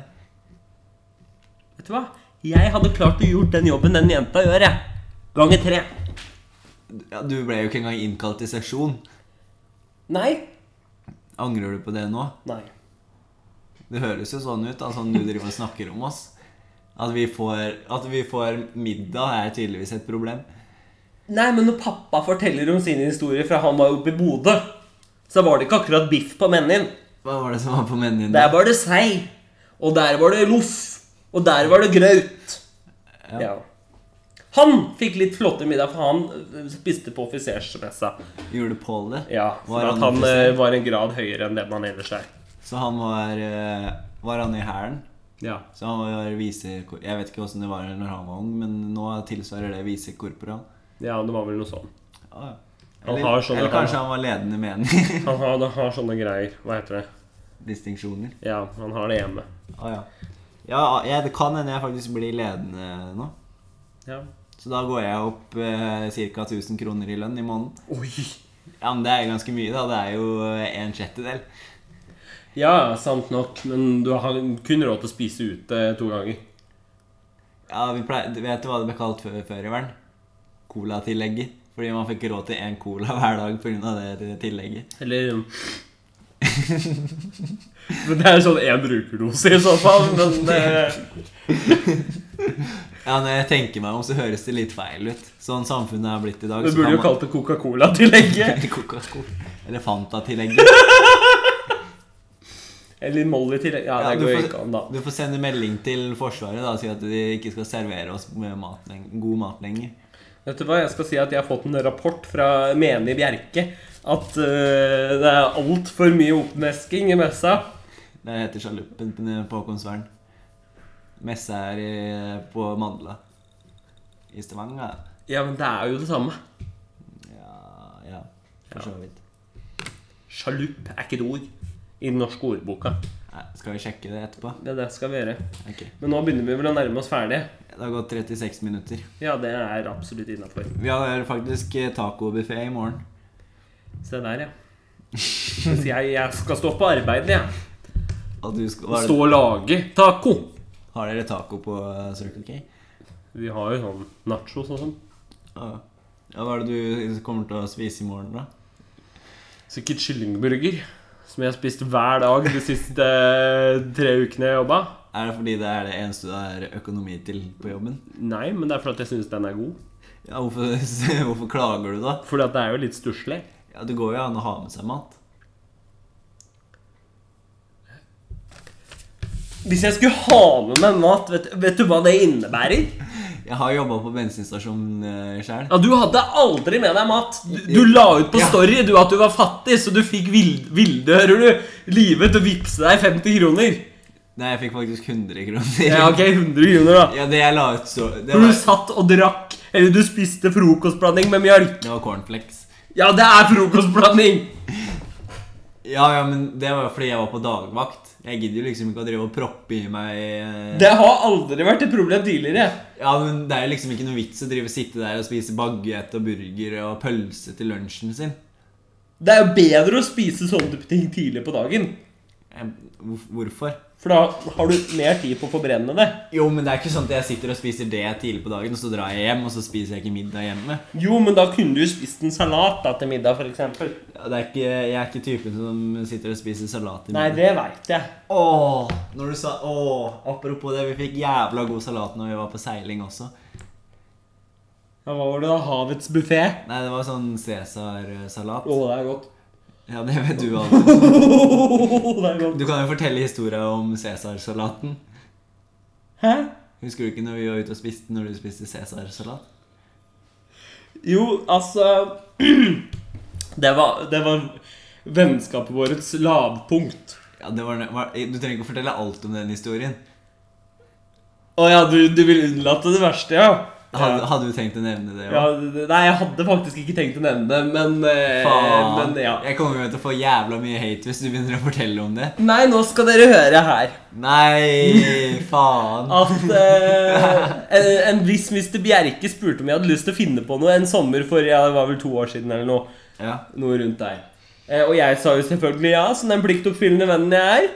Speaker 2: Vet du hva? Jeg hadde klart å gjort den jobben den jenta gjør, jeg. Ganger tre.
Speaker 1: Ja, du ble jo ikke engang innkalt til sesjon.
Speaker 2: Nei.
Speaker 1: Angrer du på det nå?
Speaker 2: Nei.
Speaker 1: Det høres jo sånn ut, da, sånn du driver og snakker om oss. At vi får, at vi får middag er tydeligvis et problem.
Speaker 2: Nei, men når pappa forteller om sine historier fra han var oppe i Bodø, så var det ikke akkurat biff på menyen.
Speaker 1: Hva var det som var på menyen?
Speaker 2: Der var det sei. Og der var det loff. Og der var det graut.
Speaker 1: Ja.
Speaker 2: Ja. Han fikk litt flottere middag, for han øh, spiste på offisersmessa.
Speaker 1: Gjorde Pål det?
Speaker 2: Ja, for
Speaker 1: Var
Speaker 2: at
Speaker 1: han
Speaker 2: han
Speaker 1: offiser?
Speaker 2: eh, var en grad høyere enn det man ellers er.
Speaker 1: Så han var eh, Var han i hæren?
Speaker 2: Ja.
Speaker 1: Så han var vise... Jeg vet ikke åssen det var når han var ung, men nå tilsvarer det visekorporal.
Speaker 2: ja, det var vel noe sånn.
Speaker 1: Ah, ja.
Speaker 2: Han
Speaker 1: Eller,
Speaker 2: har sånne-
Speaker 1: eller kanskje han var ledende med
Speaker 2: Han har, han har sånne greier. Hva heter det?
Speaker 1: distinksjoner.
Speaker 2: Ja, han har det hjemme.
Speaker 1: Ah, ja. ja, jeg, det kan hende jeg faktisk blir ledende nå.
Speaker 2: Ja.
Speaker 1: Så da går jeg opp eh, ca. 1000 kroner i lønn i måneden.
Speaker 2: Oi!
Speaker 1: Ja, men det er ganske mye, da. Det er jo eh, en sjettedel.
Speaker 2: Ja, sant nok, men du har kun råd til å spise ute to ganger.
Speaker 1: Ja, vi pleier, du Vet du hva det ble kalt før, før i verden? Colatillegget. Fordi man fikk råd til én cola hver dag pga. det, det tillegget.
Speaker 2: Eller um, Men det er sånn én brukerdose i så fall, men eh,
Speaker 1: Ja, Når jeg tenker meg om, så høres det litt feil ut. Sånn samfunnet er blitt i dag.
Speaker 2: Du
Speaker 1: så
Speaker 2: burde
Speaker 1: kan
Speaker 2: jo kalt det Coca-Cola-tillegget.
Speaker 1: Coca-Cola. Eller Fanta-tillegget.
Speaker 2: Eller Molly-tillegg. Ja, det
Speaker 1: du,
Speaker 2: går jo
Speaker 1: får-
Speaker 2: ikke an, da.
Speaker 1: du får sende melding til Forsvaret da, og si at de ikke skal servere oss med mat, leng- god mat lenger.
Speaker 2: Vet du hva, jeg skal si at jeg har fått en rapport fra Meni Bjerke at eh, det er altfor mye oppnesking i messa.
Speaker 1: Det heter Sjaluppen på Konsvern. Messe er i, på Mandla. I Stavanger.
Speaker 2: Ja, men det er jo det samme.
Speaker 1: Ja, ja for så vidt.
Speaker 2: Sjalupp er ikke et ord i den norske ordboka.
Speaker 1: Nei, skal vi sjekke det etterpå?
Speaker 2: Det er det skal vi gjøre.
Speaker 1: Ok.
Speaker 2: Men nå begynner vi vel å nærme oss ferdig.
Speaker 1: Det har gått 36 minutter.
Speaker 2: Ja, det er absolutt innafor.
Speaker 1: Vi har faktisk eh, tacobuffé i morgen.
Speaker 2: Se der, ja. Mens jeg, jeg skal stå på arbeid, jeg.
Speaker 1: Og du skal, har,
Speaker 2: Stå og lage taco.
Speaker 1: har dere taco på eh, Circle K?
Speaker 2: Vi har jo sånn nachos og sånn.
Speaker 1: Ja. ja, hva er det du kommer til å spise i morgen, da?
Speaker 2: Sikkert kyllingburger. Som jeg har spist hver dag de siste eh, tre ukene jeg jobba.
Speaker 1: Er det fordi det er det eneste du har økonomi til på jobben?
Speaker 2: Nei, men det er fordi at jeg syns den er god.
Speaker 1: Ja, hvorfor, hvorfor klager du da?
Speaker 2: Fordi at det er jo litt stusslig.
Speaker 1: Ja, Det går jo an å ha med seg mat.
Speaker 2: Hvis jeg skulle ha med meg mat, vet, vet du hva det innebærer?
Speaker 1: Jeg har jobba på bensinstasjon uh, sjøl.
Speaker 2: Ja, Du hadde aldri med deg mat. Du, du la ut på
Speaker 1: Ja.
Speaker 2: Story du at du var fattig, så du fikk Vil- Vilde, hører du, Live til å vippse deg 50 kroner.
Speaker 1: Nei, jeg fikk faktisk 100 kroner.
Speaker 2: Ja, ok, 100 kroner, da.
Speaker 1: Ja, det jeg la ut, så Det
Speaker 2: For du
Speaker 1: var,
Speaker 2: satt og drakk, eller du spiste frokostblanding med mjølk.
Speaker 1: det var cornflakes.
Speaker 2: Ja, det er frokostblanding!
Speaker 1: Ja, ja, men det var jo fordi jeg var på dagvakt. Jeg gidder jo liksom ikke å drive og proppe i meg eh,
Speaker 2: Det har aldri vært et problem tidligere.
Speaker 1: Ja, men Det er jo liksom ikke noe vits å drive og sitte der og spise baguett og burger og pølse til lunsjen sin.
Speaker 2: Det er jo bedre å spise sånne type ting tidlig på dagen.
Speaker 1: Jeg, hvor- hvorfor?
Speaker 2: For da har du mer tid på å forbrenne det.
Speaker 1: Jo, men det er ikke sånn at jeg sitter og spiser det tidlig på dagen, og så drar jeg hjem, og så spiser jeg ikke middag hjemme.
Speaker 2: Jo, men da kunne du jo spist en salat da til middag, f.eks.
Speaker 1: Ja, Det er ikke, jeg er ikke typen som sitter og spiser salat i
Speaker 2: Nei,
Speaker 1: middag.
Speaker 2: det veit jeg.
Speaker 1: Åh, når du sa, åh, apropos det, vi fikk jævla god salat når vi var på seiling også.
Speaker 2: Ja, Hva var det da? Havets buffé?
Speaker 1: Nei, det var sånn Cæsar-salat.
Speaker 2: Å, det er godt.
Speaker 1: Ja, det vet du alt.
Speaker 2: det er godt.
Speaker 1: Du kan jo fortelle historien om Cæsar-salaten.
Speaker 2: Hæ?
Speaker 1: Husker du ikke når vi var ute og spiste, når du spiste Cæsar-salat?
Speaker 2: Jo, altså Det var, det var vennskapet vårets lavpunkt.
Speaker 1: Ja, det var, var- du trenger ikke å fortelle alt om den historien.
Speaker 2: Å ja, du, du vil unnlate det verste, ja?
Speaker 1: Hadde,
Speaker 2: Ja.
Speaker 1: hadde du tenkt å nevne det? også?
Speaker 2: Ja, det- nei, jeg hadde faktisk ikke tenkt å nevne det, men, eh,
Speaker 1: Faen.
Speaker 2: men ja.
Speaker 1: Jeg kommer jo til å få jævla mye hate hvis du begynner å fortelle om det.
Speaker 2: Nei, nå skal dere høre her
Speaker 1: Nei, faen.
Speaker 2: at eh, en, en viss Mr. Bjerke spurte om jeg hadde lyst til å finne på noe en sommer for ja, det var vel to år siden eller noe.
Speaker 1: Ja.
Speaker 2: noe rundt der. Eh, og jeg sa jo selvfølgelig ja, som den pliktoppfyllende vennen jeg er.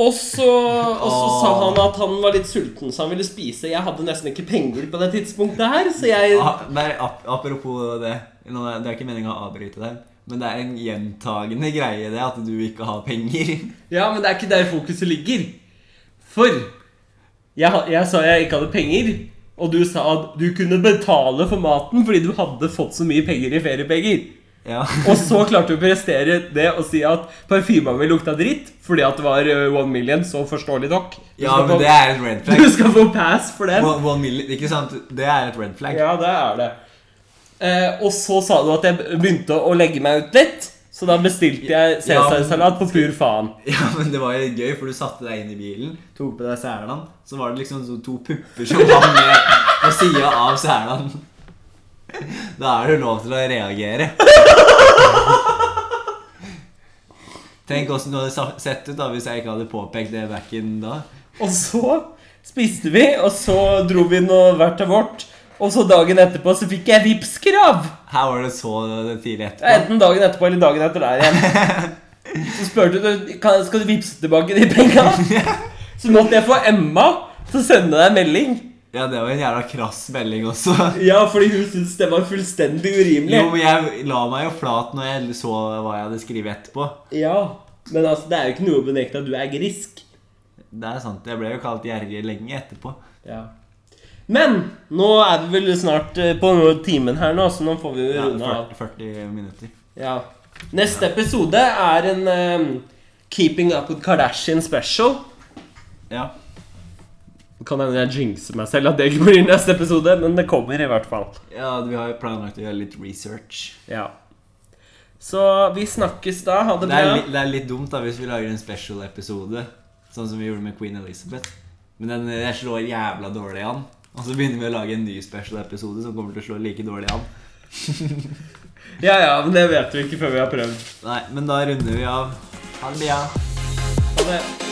Speaker 2: Og så, og så sa han at han var litt sulten, så han ville spise. Jeg hadde nesten ikke penger på det tidspunktet her, så jeg
Speaker 1: Ah, Nei, ap apropos det. Nå, er- det er ikke meningen å avbryte deg, men det er en gjentagende greie det at du ikke har penger.
Speaker 2: Ja, men det er ikke der fokuset ligger. For jeg, ha- jeg sa jeg ikke hadde penger, og du sa at du kunne betale for maten fordi du hadde fått så mye penger i feriepenger.
Speaker 1: Ja.
Speaker 2: Og så klarte du å prestere det og si at parfyma mi lukta dritt fordi at det var eh, One Million, så forståelig nok. Du
Speaker 1: ja,
Speaker 2: skal
Speaker 1: men
Speaker 2: få-
Speaker 1: det er et red
Speaker 2: Du
Speaker 1: flag.
Speaker 2: skal få pass for den.
Speaker 1: One, one million, ikke sant? Det er et red flag.
Speaker 2: Ja, det er det. Eh, og så sa du at jeg begynte å legge meg ut litt. Så da bestilte
Speaker 1: Ja, men-
Speaker 2: jeg cæsarsalat på pur faen.
Speaker 1: Ja, men det var jo gøy, for du satte deg inn i bilen, tok på deg selen, så var det liksom sånn to pupper som hang ned på sida av selen. Da er det jo lov til å reagere. Tenk åssen det hadde sa- sett ut da hvis jeg ikke hadde påpekt det back in da.
Speaker 2: Og så spiste vi, og så dro vi nå hvert til vårt. Og så dagen etterpå så fikk jeg Vipps-krav!
Speaker 1: Her var det så tidlig etterpå.
Speaker 2: Enten dagen etterpå eller dagen etter der igjen. Så spurte du kan, skal du vippse tilbake de penga. Så måtte jeg få Emma til å sende deg en melding.
Speaker 1: Ja, det var en jævla krass melding også.
Speaker 2: Ja, fordi hun syntes det var fullstendig
Speaker 1: Jo,
Speaker 2: urimelig.
Speaker 1: men jeg la meg jo flat når jeg så hva jeg hadde skrevet etterpå.
Speaker 2: Ja, Men altså, det er jo ikke noe å benekte at du er grisk.
Speaker 1: Det er sant. Jeg ble jo kalt gjerrig lenge etterpå.
Speaker 2: Ja. Men nå er vi vel snart eh, på timen her nå, så nå får vi
Speaker 1: Ja,
Speaker 2: runde av.
Speaker 1: 40, 40 minutter.
Speaker 2: Ja. Neste episode er en eh, Keeping Up With Kardashian special.
Speaker 1: Ja.
Speaker 2: Kan hende jeg jinxer meg selv at det ikke blir neste episode, men det kommer i hvert fall.
Speaker 1: ja, vi har jo planlagt å gjøre litt research.
Speaker 2: Ja. Så vi snakkes da. Ha det
Speaker 1: Det er,
Speaker 2: bra.
Speaker 1: li, det er litt dumt da hvis vi lager en special-episode, sånn som vi gjorde med Queen Elizabeth. Men den eh, slår jævla dårlig an. Og så begynner vi å lage en ny special-episode som kommer til å slå like dårlig an.
Speaker 2: Ja, ja, men det vet vi ikke før vi har prøvd.
Speaker 1: Nei, men da runder vi av. Ha det bra.
Speaker 2: Ha det.